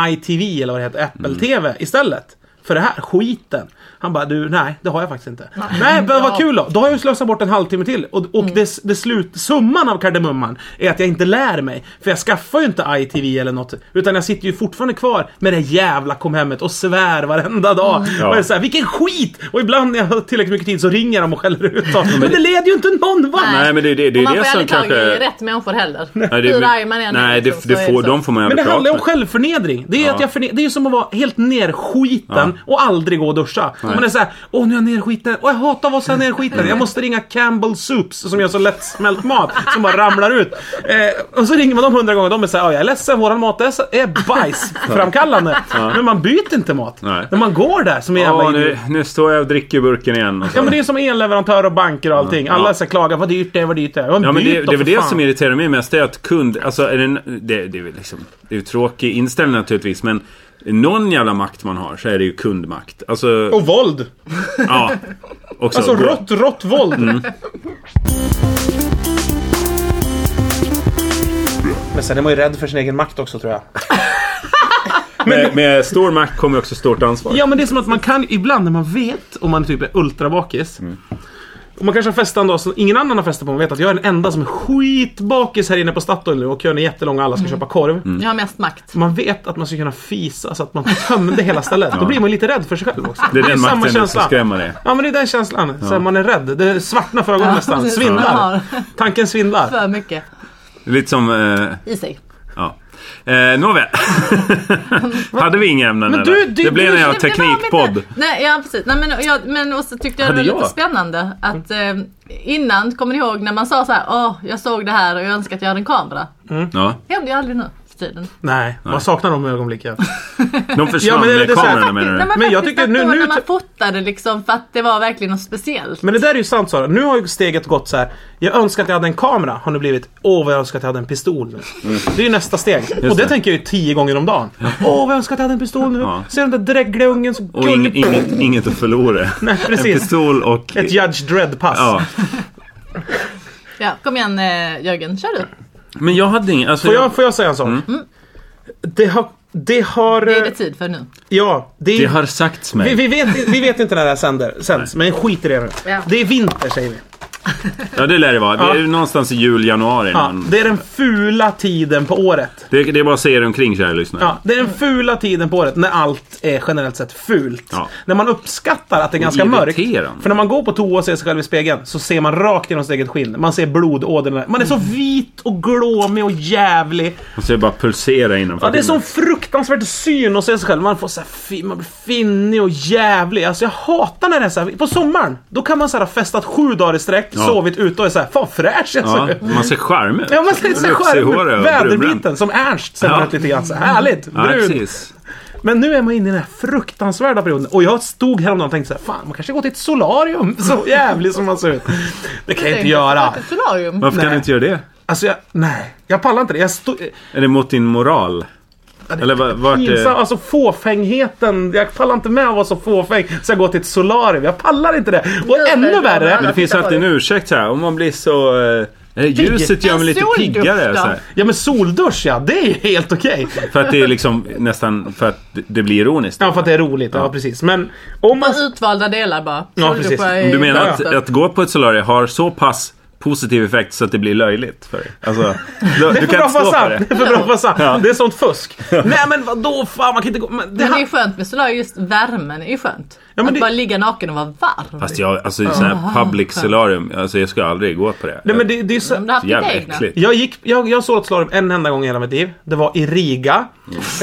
Speaker 2: ITV eller vad det heter,
Speaker 1: Mm.
Speaker 2: Apple TV istället? För det här skiten. Han bara, du nej, det har jag faktiskt inte. Nej, men vad kul då. Då har jag ju slösat bort en halvtimme till. Och, och det, det slut, summan av kardemumman är att jag inte lär mig. För jag skaffar ju inte ITV eller något. Utan jag sitter ju fortfarande kvar med det jävla komhemmet och svär varenda dag.
Speaker 1: Ja.
Speaker 2: Och är så här, vilken skit! Och ibland när jag har tillräckligt mycket tid så ringer de och skäller ut dem. Men det leder ju inte någon vart.
Speaker 1: Nej, men det, det, det
Speaker 3: Och
Speaker 1: är
Speaker 3: man
Speaker 1: det
Speaker 3: får
Speaker 1: som
Speaker 3: aldrig tag i
Speaker 1: kanske...
Speaker 3: rätt människor heller.
Speaker 1: Nej,
Speaker 3: Hur arg man än
Speaker 1: nej
Speaker 3: liksom,
Speaker 1: det,
Speaker 3: så
Speaker 1: det
Speaker 3: är
Speaker 1: får,
Speaker 3: så.
Speaker 1: de får man
Speaker 2: Men det
Speaker 1: aldrig prata
Speaker 2: handlar ju om
Speaker 1: med.
Speaker 2: självförnedring. Det är, ju
Speaker 1: Ja.
Speaker 2: att jag förne- det är ju som att vara helt nerskiten och aldrig gå och duscha. Man är såhär, åh nu är jag nerskiten, och jag hatar att vara så här nerskiten. Jag måste ringa Campbell Soups som gör så lättsmält mat som bara ramlar ut. Eh, och så ringer man dem hundra gånger och de är såhär, ja jag är ledsen, våran mat är, så- är
Speaker 1: <laughs>
Speaker 2: bajsframkallande. Men man byter inte mat.
Speaker 1: Nej.
Speaker 2: När man går där som en jävla
Speaker 1: Ja,
Speaker 2: idiot.
Speaker 1: nu, nu står jag och dricker ur burken igen. Och så.
Speaker 2: Ja men det är som elleverantörer och banker och allting. Alla så här klagar, vad dyrt det är, vad dyrt det är. Man
Speaker 1: Ja, men det,
Speaker 2: byter
Speaker 1: det är väl
Speaker 2: för
Speaker 1: det
Speaker 2: fan.
Speaker 1: som irriterar mig mest. Det är att kund... Alltså, är det, n- det, det är väl liksom... Det är ju tråkig inställning naturligtvis, men... Någon jävla makt man har så är det ju kundmakt. Alltså...
Speaker 2: Och våld!
Speaker 1: Ja. Mm. Också,
Speaker 2: Oh. Alltså rått, rått våld! Men sen är man ju rädd för sin egen makt också tror jag.
Speaker 1: Med, med stor makt kommer också stort ansvar.
Speaker 2: Ja men det är som att man kan ibland när man vet om man typ är ultrabakis.
Speaker 1: Mm.
Speaker 2: Och man kanske har festat en dag som ingen annan har festat på. Man vet att jag är den enda som är skitbakis här inne på Statoil nu och kön är jättelång och alla ska köpa korv.
Speaker 1: Mm.
Speaker 3: Jag har mest makt.
Speaker 2: Man vet att man ska kunna fisa så att man tömde hela stället. Då blir man lite rädd för sig själv också.
Speaker 1: Det är den
Speaker 2: samma
Speaker 1: makten som
Speaker 2: känsla.
Speaker 1: skrämmer dig.
Speaker 2: Ja men det är den känslan. Så här, man är rädd. Det svartnar för ögonen
Speaker 3: Ja,
Speaker 2: nästan.
Speaker 3: <laughs> precis.
Speaker 2: Svindlar.
Speaker 3: Ja.
Speaker 2: Tanken svindlar.
Speaker 3: För mycket
Speaker 1: Lite som... Eh,
Speaker 3: i sig.
Speaker 1: ja. Eh,
Speaker 2: <laughs>
Speaker 1: Nåväl. Hade vi inga ämnen
Speaker 2: Men du-
Speaker 1: eller?
Speaker 2: du-
Speaker 1: Det blev
Speaker 2: du-
Speaker 1: en jävla
Speaker 3: Nej, men det var mitt-
Speaker 1: teknikpodd.
Speaker 3: Nej, ja precis. Nej, men, jag, men och så tyckte jag
Speaker 1: Hade
Speaker 3: det var lite
Speaker 1: jag?
Speaker 3: spännande att eh,
Speaker 2: Mm.
Speaker 3: innan, kommer ni ihåg när man sa så här, åh, jag såg det här och jag önskar att jag hade en kamera.
Speaker 1: Ja.
Speaker 3: Det händer ju aldrig nu för tiden.
Speaker 2: Nej, man saknar de ögonblicken.
Speaker 1: De försvann
Speaker 2: Ja, men det är
Speaker 1: med
Speaker 2: lite så här-
Speaker 1: kamerorna menar du?
Speaker 3: Nej,
Speaker 2: Men jag
Speaker 3: faktiskt
Speaker 2: tycker nu-
Speaker 3: att då
Speaker 2: nu-
Speaker 3: när man fotade liksom för att det var verkligen något speciellt.
Speaker 2: Men det där är ju sant Sara. Nu har ju steget gått så här. Jag önskar att jag hade en kamera. Har nu blivit. Åh vad jag önskar att jag hade en pistol nu. Det är ju nästa steg. och det,
Speaker 1: Mm. det.
Speaker 2: tänker jag ju tio gånger om dagen. Åh vad jag önskar att jag hade en pistol nu.
Speaker 1: Ja.
Speaker 2: Ser den där drägliga ungen som
Speaker 1: Och ing, inget, inget att förlora.
Speaker 2: Nej
Speaker 1: En
Speaker 2: <laughs> precis.
Speaker 1: pistol och...
Speaker 2: Ett Judge Dredd-pass.
Speaker 1: Ja.
Speaker 3: Ja, kom igen eh, Jörgen, kör du.
Speaker 1: Men jag hade ingen... Alltså,
Speaker 2: Får, jag, får jag säga en sak?
Speaker 1: Mm.
Speaker 2: Det har... Det har...
Speaker 3: Det är det tid för nu.
Speaker 2: Ja. Det,
Speaker 1: Det har sagts mig.
Speaker 2: vi, vi, vet, vi vet inte när det här sänder, sänds, men skit i det nu.
Speaker 3: Ja.
Speaker 2: Det är vinter säger vi.
Speaker 1: Ja, det lär det vara. Det är ju någonstans i jul, januari.
Speaker 2: Ja,
Speaker 1: någon-
Speaker 2: det är den fula tiden på året.
Speaker 1: Det, det är bara att se er omkring, kära lyssnare.
Speaker 2: Ja, det är den fula tiden på året när allt är generellt sett fult.
Speaker 1: Ja.
Speaker 2: När man uppskattar att det är ganska mörkt.
Speaker 1: irriterande.
Speaker 2: För när man går på toa och ser sig själv i spegeln så ser man rakt genom sitt eget skinn. Man ser blodådrorna. Man är
Speaker 1: Mm.
Speaker 2: så vit och glåmig och jävlig.
Speaker 1: Och så är det bara pulsera innanför.
Speaker 2: Ja, det är
Speaker 1: filmen.
Speaker 2: sån fruktansvärd syn att se sig själv. Man, får så här, fi- man blir finnig och jävlig. Alltså jag hatar när det är så här. På sommaren, då kan man så här, ha festat sju dagar i sträck,
Speaker 1: Ja.
Speaker 2: sovit ute och är så här, fan fräsch jag ser
Speaker 1: Ja,
Speaker 2: ut.
Speaker 1: man ser charmig ut.
Speaker 2: Ja, man ser så här
Speaker 1: Rufsig i håret
Speaker 2: skärm,
Speaker 1: och brunbränd.
Speaker 2: väderbiten som Ernst ser man
Speaker 1: Ja.
Speaker 2: ut lite grann. Så här, härligt,
Speaker 1: Ja,
Speaker 2: brun.
Speaker 1: precis.
Speaker 2: Men nu är man inne i den här fruktansvärda perioden. Och jag stod häromdagen och tänkte så här, fan man kanske går till ett solarium. <laughs> Så jävlig som man ser ut. Det kan jag inte göra.
Speaker 3: Ett solarium.
Speaker 1: Varför kan
Speaker 2: Nej.
Speaker 1: du inte göra det?
Speaker 2: Alltså jag, nej. Jag pallar inte det. Jag stod,
Speaker 1: Är det mot din moral? Eller va- vart eh,
Speaker 2: Pinsam,
Speaker 1: är...
Speaker 2: alltså fåfängheten. Jag pallar inte med att vara så fåfäng så jag går till ett solarium. Jag pallar inte det. Och
Speaker 3: Gud,
Speaker 2: ännu
Speaker 3: det är
Speaker 2: värre.
Speaker 3: bra.
Speaker 1: Men det finns alltid en ursäkt här. Om man blir så... eh, Eh, Ljuset gör mig lite
Speaker 3: En soldusch
Speaker 1: piggare.
Speaker 3: då?
Speaker 1: Så här.
Speaker 2: Ja men soldusch ja, det är ju helt okej.
Speaker 1: För att det är liksom nästan för att det blir ironiskt.
Speaker 2: Ja för att det är roligt, ja, precis. Men om man...
Speaker 3: Bara Utvalda delar bara.
Speaker 2: Ja,
Speaker 3: Solduschar
Speaker 2: precis.
Speaker 3: är-
Speaker 1: Du menar
Speaker 2: Ja,
Speaker 1: att, att gå på ett solarium har så pass positiv effekt så att det blir löjligt för dig? Alltså, du,
Speaker 2: <laughs>
Speaker 1: du
Speaker 2: Det är för
Speaker 1: kan
Speaker 2: bra
Speaker 1: inte
Speaker 2: för
Speaker 1: stå för
Speaker 2: sant!
Speaker 1: det.
Speaker 2: Det är för bra för sant!
Speaker 1: Ja.
Speaker 2: Det är sånt fusk! Nej men vadå fan man kan inte gå... Men det
Speaker 3: Men det är
Speaker 2: här...
Speaker 3: ju skönt med solar, just värmen är ju skönt.
Speaker 2: men
Speaker 3: att
Speaker 2: det-
Speaker 3: bara ligga naken och vara varm.
Speaker 1: Fast jag, alltså sån här public solarium, alltså jag skulle aldrig gå på det.
Speaker 2: Nej men det, det är så...
Speaker 3: Om du har haft
Speaker 1: Jävla
Speaker 3: ditt egna.
Speaker 1: äckligt.
Speaker 2: Jag, gick, jag, jag såg ett slalom en enda gång i hela mitt liv. Det var i Riga. <laughs>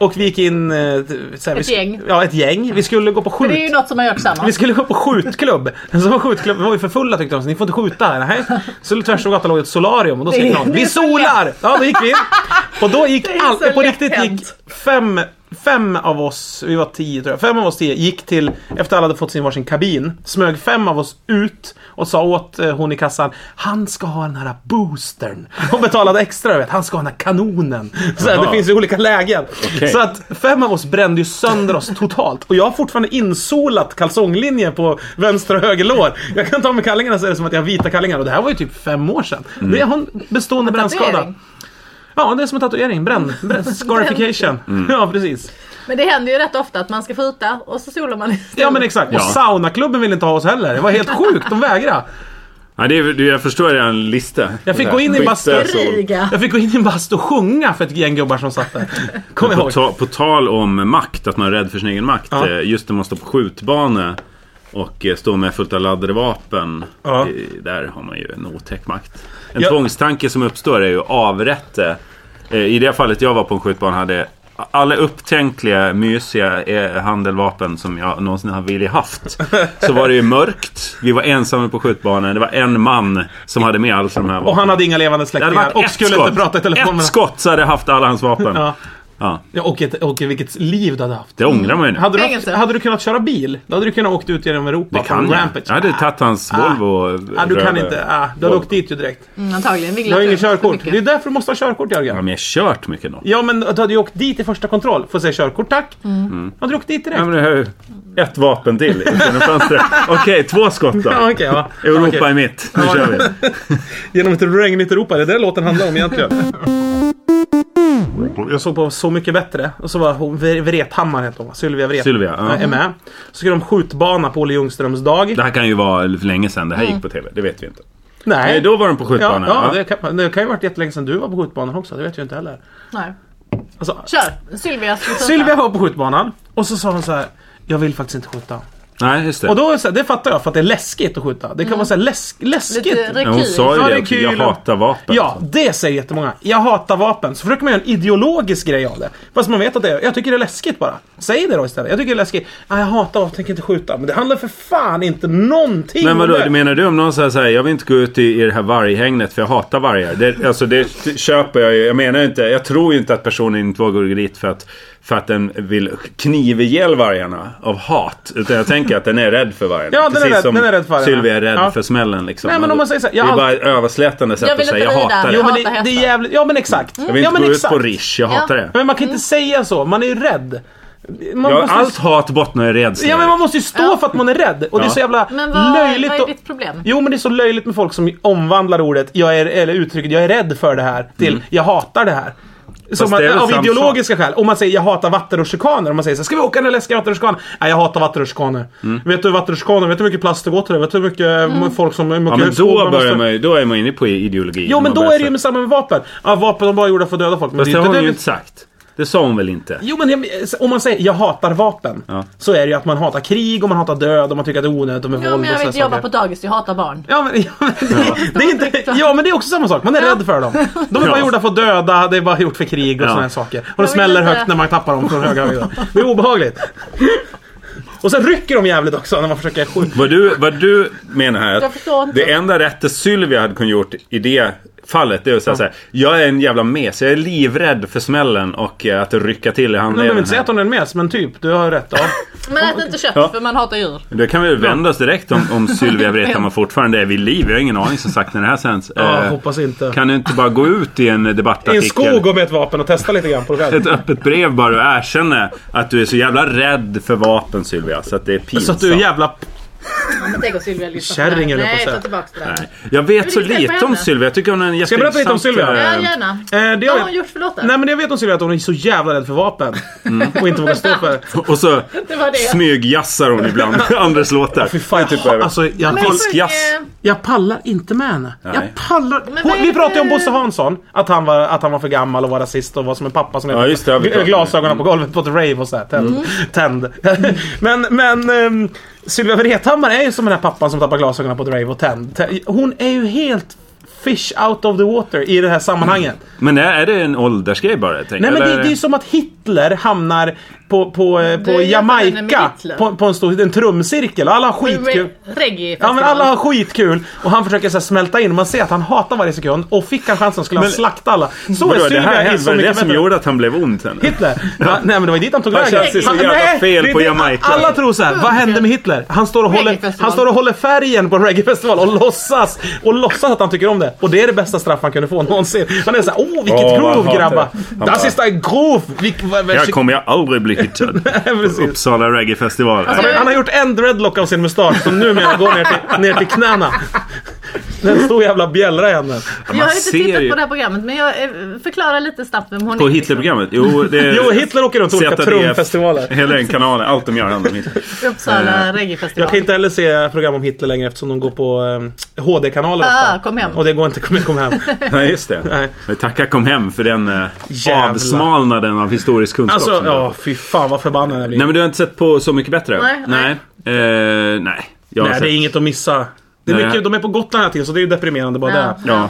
Speaker 2: och vi gick in... eh, Så här, vi
Speaker 3: Ett
Speaker 2: sk-
Speaker 3: gäng.
Speaker 2: Ja, ett gäng. Vi skulle gå på
Speaker 3: Men Det är
Speaker 2: skjut...
Speaker 3: ju något som man gör tillsammans.
Speaker 2: Vi skulle gå på skjutklubb. Så var skjutklubb, vi var ju för fulla tyckte de, så ni får inte skjuta här. Nej. Så tvärs över gatan låg ett solarium och då skrek
Speaker 3: Det-
Speaker 2: någon
Speaker 3: det är
Speaker 2: Vi
Speaker 3: så
Speaker 2: solar! Ja, då gick vi in. Och då gick
Speaker 3: är
Speaker 2: all,
Speaker 3: så
Speaker 2: på riktigt
Speaker 3: lätt
Speaker 2: gick fem, fem av oss, vi var tio tror jag, fem av oss tio gick till, efter alla hade fått sin varsin kabin, smög fem av oss ut och sa åt eh, hon i kassan Han ska ha den här boostern. Hon betalade extra, du vet. Han ska ha den här kanonen. Så här, det
Speaker 1: Jaha.
Speaker 2: finns ju olika lägen.
Speaker 1: Okej.
Speaker 2: Så att att fem av oss brände ju sönder oss totalt. Och jag har fortfarande insolat kalsonglinjen på vänster och höger lår. Jag kan ta med kallingarna så är det som att jag har vita kallingar. Och det här var ju typ fem år sedan.
Speaker 1: Mm.
Speaker 2: Det har en bestående brännskada.
Speaker 3: Tatuering.
Speaker 2: Ja, det är som en tatuering. Bränn. bränn scarification.
Speaker 1: Mm.
Speaker 2: Ja, precis.
Speaker 3: Men det händer ju rätt ofta att man ska skjuta och så solar man istället.
Speaker 2: Ja, men exakt.
Speaker 1: Ja.
Speaker 2: Och saunaklubben ville inte ha oss heller. Det var helt sjukt. De vägrade.
Speaker 1: Ja, det är, det- jag förstår redan lista.
Speaker 2: Jag fick gå in i
Speaker 1: Skit,
Speaker 2: bastu.
Speaker 1: alltså.
Speaker 3: Riga.
Speaker 2: Jag fick gå in i en bastu och sjunga för ett gäng gubbar som satt där. Kom
Speaker 1: Men På,
Speaker 2: ihåg.
Speaker 1: ta, på tal om makt, att man är rädd för sin egen makt.
Speaker 2: Ja.
Speaker 1: eh, Just när man står på skjutbana och eh, står med fullt av laddade vapen.
Speaker 2: Ja.
Speaker 1: eh, Där har man ju en otäck makt. En
Speaker 2: Ja.
Speaker 1: tvångstanke som uppstår är ju avrätte. Eh, I det fallet jag var på en skjutbana hade alla upptänkliga mysiga eh, handeldvapen som jag någonsin har velat haft. Så var det ju mörkt. Vi var ensamma på skjutbanan. Det var en man som hade med alla de här
Speaker 2: Och
Speaker 1: vapnen.
Speaker 2: han hade inga levande
Speaker 1: Det hade
Speaker 2: släktingar.
Speaker 1: varit
Speaker 2: Och
Speaker 1: ett
Speaker 2: skulle
Speaker 1: skott.
Speaker 2: inte prata i telefon.
Speaker 1: Ett skott så hade jag haft alla hans vapen.
Speaker 2: Ja.
Speaker 1: Ja.
Speaker 2: Ja, och, ett, och vilket liv du hade haft.
Speaker 1: Det ångrar man ju nu.
Speaker 2: Hade du, haft,
Speaker 3: Fängelse.
Speaker 2: hade du kunnat köra bil, då hade du kunnat åkt ut genom Europa
Speaker 1: Det kan
Speaker 2: på en
Speaker 1: jag.
Speaker 2: rampage.
Speaker 1: Jag hade tagit hans Volvo.
Speaker 2: Ah, du kan
Speaker 1: röda.
Speaker 2: inte. Ah, du hade åkt dit ju direkt.
Speaker 3: Mm, antagligen.
Speaker 2: Du har ju inget körkort. Det är därför du måste ha körkort,
Speaker 1: Ja,
Speaker 2: Jörgen.
Speaker 1: men jag har kört mycket nog.
Speaker 2: Ja, men du hade ju åkt dit i första kontroll. Får säga körkort, tack. Mm. Hade du åkt dit direkt?
Speaker 1: Ja, men jag har ju ett vapen till i <laughs> fönstret. Okej, två skott då.
Speaker 2: Ja, okej, ja.
Speaker 1: Europa
Speaker 2: Okej.
Speaker 1: är mitt. Nu kör vi.
Speaker 2: Genom ett regnigt Europa, det är det låten handlar om
Speaker 1: <laughs>
Speaker 2: egentligen. Jag såg på Så Mycket Bättre och så var hon Vre- Vrethammar hette hon va? Sylvia Vret.
Speaker 1: Sylvia, ja.
Speaker 2: Är med. Så skulle de skjutbana på Olle Ljungströms dag.
Speaker 1: Det här kan ju vara för länge sedan. Det här gick på TV. Det vet vi inte.
Speaker 2: Nej.
Speaker 1: Mm. Nej, då var de på
Speaker 2: Ja,
Speaker 1: skjutbanan.
Speaker 2: ja, det, kan, det kan ju varit jättelänge sedan du var på skjutbanan också. Det vet jag inte heller.
Speaker 3: Nej.
Speaker 2: Alltså,
Speaker 3: Kör! Sylvia ska skjuta.
Speaker 2: Sylvia var på skjutbanan och så sa hon så här. Jag vill faktiskt inte skjuta.
Speaker 1: Nej, just det.
Speaker 2: Och då, är det så här, det fattar jag för att det är läskigt att skjuta. Det kan vara så här läsk, läskigt.
Speaker 3: Mm. Lite
Speaker 1: Men hon
Speaker 3: rekyl.
Speaker 1: sa
Speaker 2: Ja,
Speaker 1: ju det.
Speaker 2: det är
Speaker 1: också. Jag
Speaker 2: kul.
Speaker 1: hatar vapen.
Speaker 2: Ja, det säger jättemånga. Jag hatar vapen. Så försöker man göra en ideologisk grej av det. Fast man vet att det är, jag tycker det är läskigt bara. Säg det då istället. Jag tycker det är läskigt. Ah, jag hatar vapen, tänker inte skjuta. Men det handlar för fan inte någonting
Speaker 1: Men vadå,
Speaker 2: om det.
Speaker 1: du menar du om någon säger såhär, jag vill inte gå ut i, i det här varghägnet för jag hatar vargar. Det, alltså det t- köper jag ju. Jag menar ju inte, jag tror ju inte att personen inte vågar gå dit för att, för att den vill kniva ihjäl vargarna av hat. Utan jag tänker att den är rädd för vargarna.
Speaker 2: Ja, den är
Speaker 1: Precis
Speaker 2: rädd-
Speaker 1: som
Speaker 2: den är rädd för vargarna.
Speaker 1: Sylvia är rädd
Speaker 2: Ja.
Speaker 1: för smällen liksom.
Speaker 2: Nej, men om man säger så här,
Speaker 1: det
Speaker 2: jag
Speaker 1: är
Speaker 2: har
Speaker 1: bara ett överslätande sätt
Speaker 3: Jag
Speaker 1: att
Speaker 3: vill
Speaker 1: säga,
Speaker 3: inte
Speaker 1: jag
Speaker 3: rida.
Speaker 1: hatar det.
Speaker 2: Jo,
Speaker 1: Jag
Speaker 2: men det,
Speaker 3: hatar
Speaker 2: det är
Speaker 3: hästar.
Speaker 2: jävligt... Ja, men exakt. Jag
Speaker 1: Mm. vill
Speaker 2: ja,
Speaker 1: inte
Speaker 2: men
Speaker 1: gå
Speaker 2: exakt.
Speaker 1: ut på Rish, jag
Speaker 3: Ja.
Speaker 1: hatar det.
Speaker 2: Men man
Speaker 3: Mm.
Speaker 2: kan inte säga så. Man är ju rädd. Man
Speaker 1: Ja,
Speaker 2: måste-
Speaker 1: allt hat bottnar i rädsla.
Speaker 2: Ja men man måste ju stå för att man är rädd. Och det är så
Speaker 1: Ja.
Speaker 2: jävla
Speaker 3: Men vad,
Speaker 2: löjligt.
Speaker 3: vad är
Speaker 2: och-
Speaker 3: ditt problem?
Speaker 2: Jo men det är så löjligt med folk som omvandlar ordet jag är, eller uttrycket jag är rädd för det här till jag hatar det här. Som man,
Speaker 1: Mm. det är väl
Speaker 2: av
Speaker 1: samma
Speaker 2: ideologiska skäl. Om man säger jag hatar vattenrutschkanor. Om man säger så här, ska vi åka den där läskiga vattenrutschkanan? Nej jag hatar vattenrutschkanor.
Speaker 1: Mm.
Speaker 2: Vet du hur vattenrutschkanor, vet du hur mycket plast det går till det? Vet du hur mycket
Speaker 3: Mm.
Speaker 2: m- folk som... hur mycket
Speaker 1: Ja, men
Speaker 2: skog
Speaker 1: då,
Speaker 2: måste-
Speaker 1: börjar man, ju- då är man inne på ideologi.
Speaker 2: Jo men
Speaker 1: Man
Speaker 2: då
Speaker 1: börjar
Speaker 2: är det
Speaker 1: säga-
Speaker 2: ju med samma med vapen. Ja vapen de bara gjorde för att döda folk. Men
Speaker 1: Fast det
Speaker 2: är
Speaker 1: har
Speaker 2: inte
Speaker 1: hon
Speaker 2: vi-
Speaker 1: ju inte sagt. Det sa hon väl inte?
Speaker 2: Jo men jag- om man säger jag hatar vapen.
Speaker 1: Ja.
Speaker 2: Så är det ju att man hatar krig och man hatar död och man tycker att det är onödigt och med
Speaker 3: Ja,
Speaker 2: våld
Speaker 3: men jag
Speaker 2: och
Speaker 3: vill
Speaker 2: sådana
Speaker 3: inte jobba
Speaker 2: saker.
Speaker 3: på dagis, jag hatar barn.
Speaker 2: Ja men, <laughs> ja, men det, det är inte,
Speaker 3: Konflikter.
Speaker 2: ja men det är också samma sak, man är rädd för dem. De är bara
Speaker 1: Ja.
Speaker 2: gjorda för att döda, det är bara gjort för krig och
Speaker 1: Ja.
Speaker 2: sådana här saker. Och
Speaker 3: Jag
Speaker 2: de
Speaker 3: vill
Speaker 2: smäller
Speaker 3: inte-
Speaker 2: högt när man tappar dem från höga höjder. Det är obehagligt. Och sen rycker de jävligt också när man försöker skjuta.
Speaker 1: Vad du, vad du menar här,
Speaker 3: Jag förstår
Speaker 1: att
Speaker 3: inte.
Speaker 1: det enda rätta Sylvia hade kunnat gjort i det fallet, det är att säga så här, Jag är en jävla mes, jag är livrädd för smällen och eh, att rycka till i
Speaker 2: Man behöver
Speaker 1: handleden.
Speaker 2: inte säga att
Speaker 1: här.
Speaker 2: hon är en mes, men typ, du har rätt. Ja.
Speaker 3: Men ät inte kött
Speaker 1: Ja.
Speaker 3: för man hatar djur.
Speaker 1: Det kan vi väl vända oss direkt om, om Sylvia
Speaker 3: <laughs>
Speaker 1: Vrethammar fortfarande är vid liv. Jag har ingen aning som sagt när det här sänds.
Speaker 2: Ja,
Speaker 1: Eh,
Speaker 2: hoppas inte.
Speaker 1: Kan du inte bara gå ut i en
Speaker 2: I en
Speaker 1: debattartikel?
Speaker 2: skog och med ett vapen och testa lite grann på dig själv.
Speaker 1: Ett öppet brev bara och erkänna att du är så jävla rädd för vapen Sylvia, så att det är pinsamt.
Speaker 2: Så att du är jävla
Speaker 3: Tänk om Sylvia lyssnar
Speaker 2: Kärringen, höll jag på att
Speaker 3: Nej,
Speaker 2: säga.
Speaker 3: ta tillbaka det där.
Speaker 1: Nej. Jag vet så
Speaker 3: vill inte
Speaker 1: lite
Speaker 3: träffa
Speaker 1: om
Speaker 3: henne.
Speaker 1: Sylvia. Jag tycker hon är en
Speaker 2: Ska jag berätta lite om Sylvia?
Speaker 1: jätteintressant,
Speaker 3: Ja,
Speaker 1: eh,
Speaker 3: gärna.
Speaker 2: Eh, det
Speaker 3: Vad
Speaker 2: jag
Speaker 3: har hon
Speaker 2: vet-
Speaker 3: gjort för låtar?
Speaker 2: Nej men det jag vet om Sylvia är att hon är så jävla rädd för vapen. Och inte vågar stå för det.
Speaker 1: <laughs> Och så
Speaker 3: Det var det.
Speaker 1: smygjassar hon
Speaker 3: <laughs>
Speaker 1: ibland andras låtar.
Speaker 2: Fy fan, jag,
Speaker 1: Det är typ över.
Speaker 2: alltså, jag,
Speaker 3: Men eh,
Speaker 2: jag,
Speaker 1: Fisk, jass.
Speaker 3: sjunger-
Speaker 2: jag pallar inte med henne.
Speaker 1: Nej.
Speaker 2: Jag pallar.
Speaker 3: Men
Speaker 2: Hon,
Speaker 3: vad är
Speaker 2: vi
Speaker 3: det
Speaker 2: pratade ju om
Speaker 3: för-
Speaker 2: Bosse Hansson. Att han, var, att han var för gammal och var rasist och var som en pappa som
Speaker 1: Ja, just det, jag vet
Speaker 2: Gl-
Speaker 1: inte.
Speaker 2: glasögonen på golvet på ett rave och sådär. Tänd.
Speaker 3: Mm.
Speaker 2: tänd. <laughs> men men ehm, Sylvia Vrethammar är ju som den här pappan som tappar glasögonen på ett rave och tänd. Tä- Hon är ju helt fish out of the water i det här sammanhanget.
Speaker 1: Men är, är det en åldersgrej bara? Jag
Speaker 2: Nej
Speaker 1: tänker?
Speaker 2: men det,
Speaker 1: Eller-
Speaker 2: det är ju som att Hitler hamnar på, på, eh, på
Speaker 3: Du jämför henne med
Speaker 2: Jamaica.
Speaker 3: Hitler.
Speaker 2: På, på en stor en trumcirkel och alla har skitkul.
Speaker 3: Re- Reggae.
Speaker 2: Ja men alla har skitkul och han försöker så här, smälta in. Man ser att han hatar varje sekund och fick han chansen skulle han
Speaker 1: Men-
Speaker 2: slakta alla. Så är
Speaker 1: Vadå, det här
Speaker 2: Sylvia i
Speaker 1: hände?
Speaker 2: så
Speaker 1: Var det det
Speaker 2: mycket
Speaker 1: som
Speaker 2: bättre.
Speaker 1: gjorde att han blev ont henne?
Speaker 2: Hitler? Va? Nej men det var ju dit han tog
Speaker 1: Han
Speaker 2: vägen.
Speaker 1: kände sig så
Speaker 2: Han-
Speaker 1: jävla
Speaker 2: nej,
Speaker 1: fel
Speaker 2: det är
Speaker 1: på
Speaker 2: det-
Speaker 1: Jamaica.
Speaker 2: Alla tror såhär, vad hände med Hitler? Han står och håller,
Speaker 3: Reggaefestival.
Speaker 2: han står och håller färgen på en reggaefestival och låtsas, och låtsas att han tycker om det. Och det är det bästa straff han kunde få någonsin. Han är såhär, åh vilket
Speaker 1: Åh, vad han
Speaker 2: groove
Speaker 1: hatar
Speaker 2: grabbar!
Speaker 1: det. Han
Speaker 2: Das
Speaker 1: bara-
Speaker 2: ist ein groove! Vilk, vad- vad-
Speaker 1: Här kommer jag aldrig bli hittad.
Speaker 2: <laughs> precis.
Speaker 1: Uppsala reggaefestival.
Speaker 3: Alltså,
Speaker 2: Han har gjort en dreadlock av sin mustasch som numera går ner till, ner till knäna. <laughs> Den stor jävla bjällra i handen.
Speaker 3: Jag har
Speaker 1: Man
Speaker 3: inte
Speaker 1: ser
Speaker 3: tittat
Speaker 1: ju-
Speaker 3: på det här programmet men jag eh, förklarar lite snabbt vem hon
Speaker 1: På
Speaker 3: är.
Speaker 1: Hitlerprogrammet? Jo, det är
Speaker 2: <laughs> Jo, Hitler åker runt olika
Speaker 1: ZDF,
Speaker 2: trumfestivaler.
Speaker 1: Hela den kanalen. Allt de gör handlar
Speaker 2: <laughs>
Speaker 1: om Hitler.
Speaker 3: Uppsala
Speaker 2: Eh, Jag
Speaker 3: reggaefestival.
Speaker 2: kan inte heller se program om Hitler längre eftersom de går på eh, HD-kanaler
Speaker 3: Ah,
Speaker 2: ofta.
Speaker 3: kom hem.
Speaker 2: Och det går inte, kom, kom
Speaker 3: <laughs>
Speaker 2: hem.
Speaker 1: Nej, just det.
Speaker 2: Nej.
Speaker 1: Men tacka kom hem för den eh,
Speaker 2: Jävlar.
Speaker 1: avsmalnaden av historisk kunskap.
Speaker 2: Alltså,
Speaker 1: som du har.
Speaker 2: ja fy fan vad förbannad jag blir.
Speaker 1: Nej, men du har inte sett på Så Mycket Bättre?
Speaker 3: Nej,
Speaker 1: Nej.
Speaker 3: nej.
Speaker 1: Eh, nej. Jag har
Speaker 2: Nej, det
Speaker 1: sett-
Speaker 2: är inget att missa. Det är
Speaker 1: Nej.
Speaker 2: mycket, de är på Gotland hela tiden så det är ju deprimerande bara
Speaker 3: Ja.
Speaker 2: det.
Speaker 1: Ja.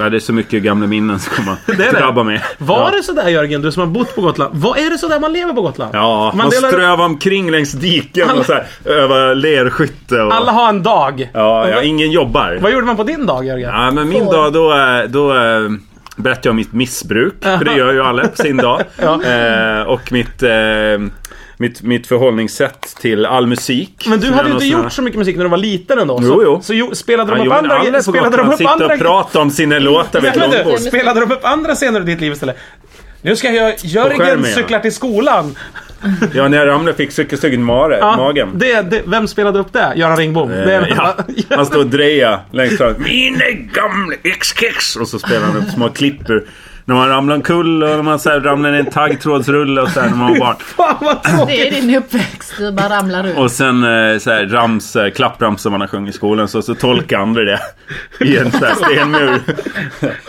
Speaker 1: ja, det är så mycket gamla minnen som kommer
Speaker 2: Det är det.
Speaker 1: drabba mig.
Speaker 2: Var
Speaker 1: ja.
Speaker 2: det sådär Jörgen, du som har bott på Gotland? Vad är det sådär man lever på Gotland?
Speaker 1: Ja, man,
Speaker 2: man delar,
Speaker 1: strövar omkring längs diken
Speaker 2: Alla-
Speaker 1: och så här, övar lerskytte. Och...
Speaker 2: Alla har en dag.
Speaker 1: Ja, ja,
Speaker 2: vad,
Speaker 1: ingen jobbar.
Speaker 2: vad gjorde man på din dag Jörgen?
Speaker 1: Ja, men min dag då, eh, då eh, berättar jag om mitt missbruk. För det gör ju alla på sin dag. eh, och mitt, eh, mitt, mitt förhållningssätt till all musik.
Speaker 2: Men du
Speaker 1: Som
Speaker 2: hade
Speaker 1: är
Speaker 2: ju inte
Speaker 1: någon sån här-
Speaker 2: gjort så mycket musik när du var liten ändå.
Speaker 1: alltså- Jo,
Speaker 2: så,
Speaker 1: jo.
Speaker 2: så jo, spelade de
Speaker 1: Ja,
Speaker 2: upp
Speaker 1: jo, men alla
Speaker 2: andra...
Speaker 1: på
Speaker 2: Spelade de
Speaker 1: Gotland
Speaker 2: upp
Speaker 1: sitter
Speaker 2: andra...
Speaker 1: och pratar om sina låtar vid ett
Speaker 2: Men
Speaker 1: långbord.
Speaker 2: du, spelade de upp andra scener i ditt liv istället? Nu ska jag... Jörgen
Speaker 1: skärmen, ja.
Speaker 2: cyklar till skolan.
Speaker 1: Ja, när jag ramlade fick cykelstugan i
Speaker 2: Ja,
Speaker 1: magen.
Speaker 2: Det, det, vem spelade upp det? Göran Ringbom? det är
Speaker 1: Eh, ja,
Speaker 2: <laughs>
Speaker 1: han står och drejar längst fram. Mina gamla ex-kex! Och så spelar han upp små klippor. När man ramlar omkull och när man så här ramlar ner i en taggtrådsrulle och så här när man var barn.
Speaker 2: Fan vad tråkigt!
Speaker 3: Det är din uppväxt, du bara ramlar ut.
Speaker 1: Och sen eh, så här rams, eh, klapprams man har sjungit i skolan så, så tolkar andra det i en sån här stenmur.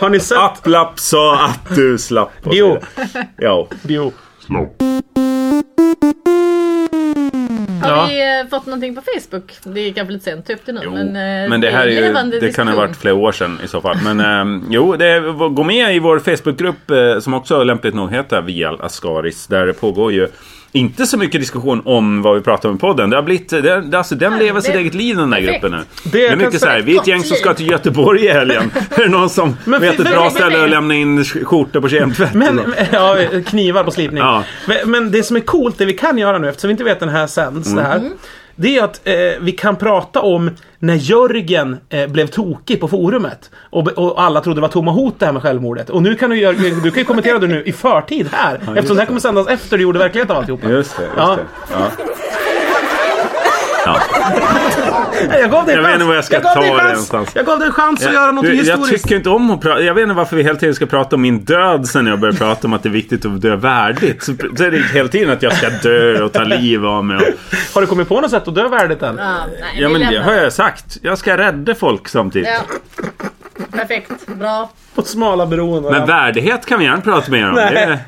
Speaker 2: Har ni sett?
Speaker 1: App lapp sa att du slapp. och så
Speaker 2: Jo.
Speaker 1: vidare. Ja.
Speaker 2: Jo.
Speaker 3: Har
Speaker 2: Ja.
Speaker 3: vi eh, fått någonting på Facebook? Det är kanske lite sent, typ det nu.
Speaker 1: Jo,
Speaker 3: men, eh,
Speaker 1: men det här är
Speaker 3: en
Speaker 1: ju,
Speaker 3: levande
Speaker 1: det kan ha
Speaker 3: diskussion.
Speaker 1: varit flera år sedan i så fall. Men ehm, jo, det är, gå med i vår Facebookgrupp eh, som också lämpligt nog heter Vial Ascaris. Där det pågår ju inte så mycket diskussion om vad vi pratar om i podden. Det har blivit, det, det, alltså, den lever sitt
Speaker 3: det-
Speaker 1: eget liv den här
Speaker 3: perfekt.
Speaker 1: gruppen nu.
Speaker 2: Det
Speaker 1: Det är
Speaker 2: kan
Speaker 1: mycket så här,
Speaker 2: säga-
Speaker 1: vi är ett gäng som ska till Göteborg i
Speaker 2: <laughs>
Speaker 1: helgen. är det någon som
Speaker 2: Men
Speaker 1: vet
Speaker 2: för-
Speaker 1: ett
Speaker 2: för-
Speaker 1: bra
Speaker 2: men-
Speaker 1: ställe att lämna in sk- skjortor på kemtvätt?
Speaker 2: Men, eh, ja, knivar på slipning.
Speaker 1: Ja.
Speaker 2: Men, men det som är coolt, det vi kan göra nu eftersom vi inte vet när den här sänds, det här. Det är att eh, vi kan prata om när Jörgen eh, blev tokig på forumet. Och, be- och alla trodde det var tomma hot det här med självmordet. Och nu kan du, Jörgen, du kan ju kommentera det nu i förtid här. eftersom det här kommer sändas efter du gjorde verklighet av alltihopa.
Speaker 1: Just det, just
Speaker 2: Ja.
Speaker 1: det. Ja. Ja.
Speaker 2: Nej, Jag gav dig en
Speaker 1: Jag vet inte
Speaker 2: chans.
Speaker 1: var jag ska
Speaker 2: gav
Speaker 1: ta
Speaker 2: dig en
Speaker 1: det
Speaker 2: chans.
Speaker 1: någonstans.
Speaker 2: Jag gav dig en chans att göra något
Speaker 1: du, jag
Speaker 2: historiskt.
Speaker 1: tycker inte om att prata. Jag vet inte varför vi hela tiden ska prata om min död sen när jag börjar prata om att det är viktigt att dö värdigt. Så, så är det hela tiden att jag ska dö och ta liv av mig. Och,
Speaker 2: Har du kommit på något sätt att dö värdigt än?
Speaker 3: Ja, nej,
Speaker 1: ja
Speaker 3: vi
Speaker 1: men det
Speaker 3: lämnar
Speaker 1: har jag sagt. Jag ska rädda folk samtidigt.
Speaker 3: Ja. Perfekt, bra.
Speaker 2: På smala beroende.
Speaker 1: Men värdighet kan vi gärna prata mer om.
Speaker 2: Nej.
Speaker 1: Det,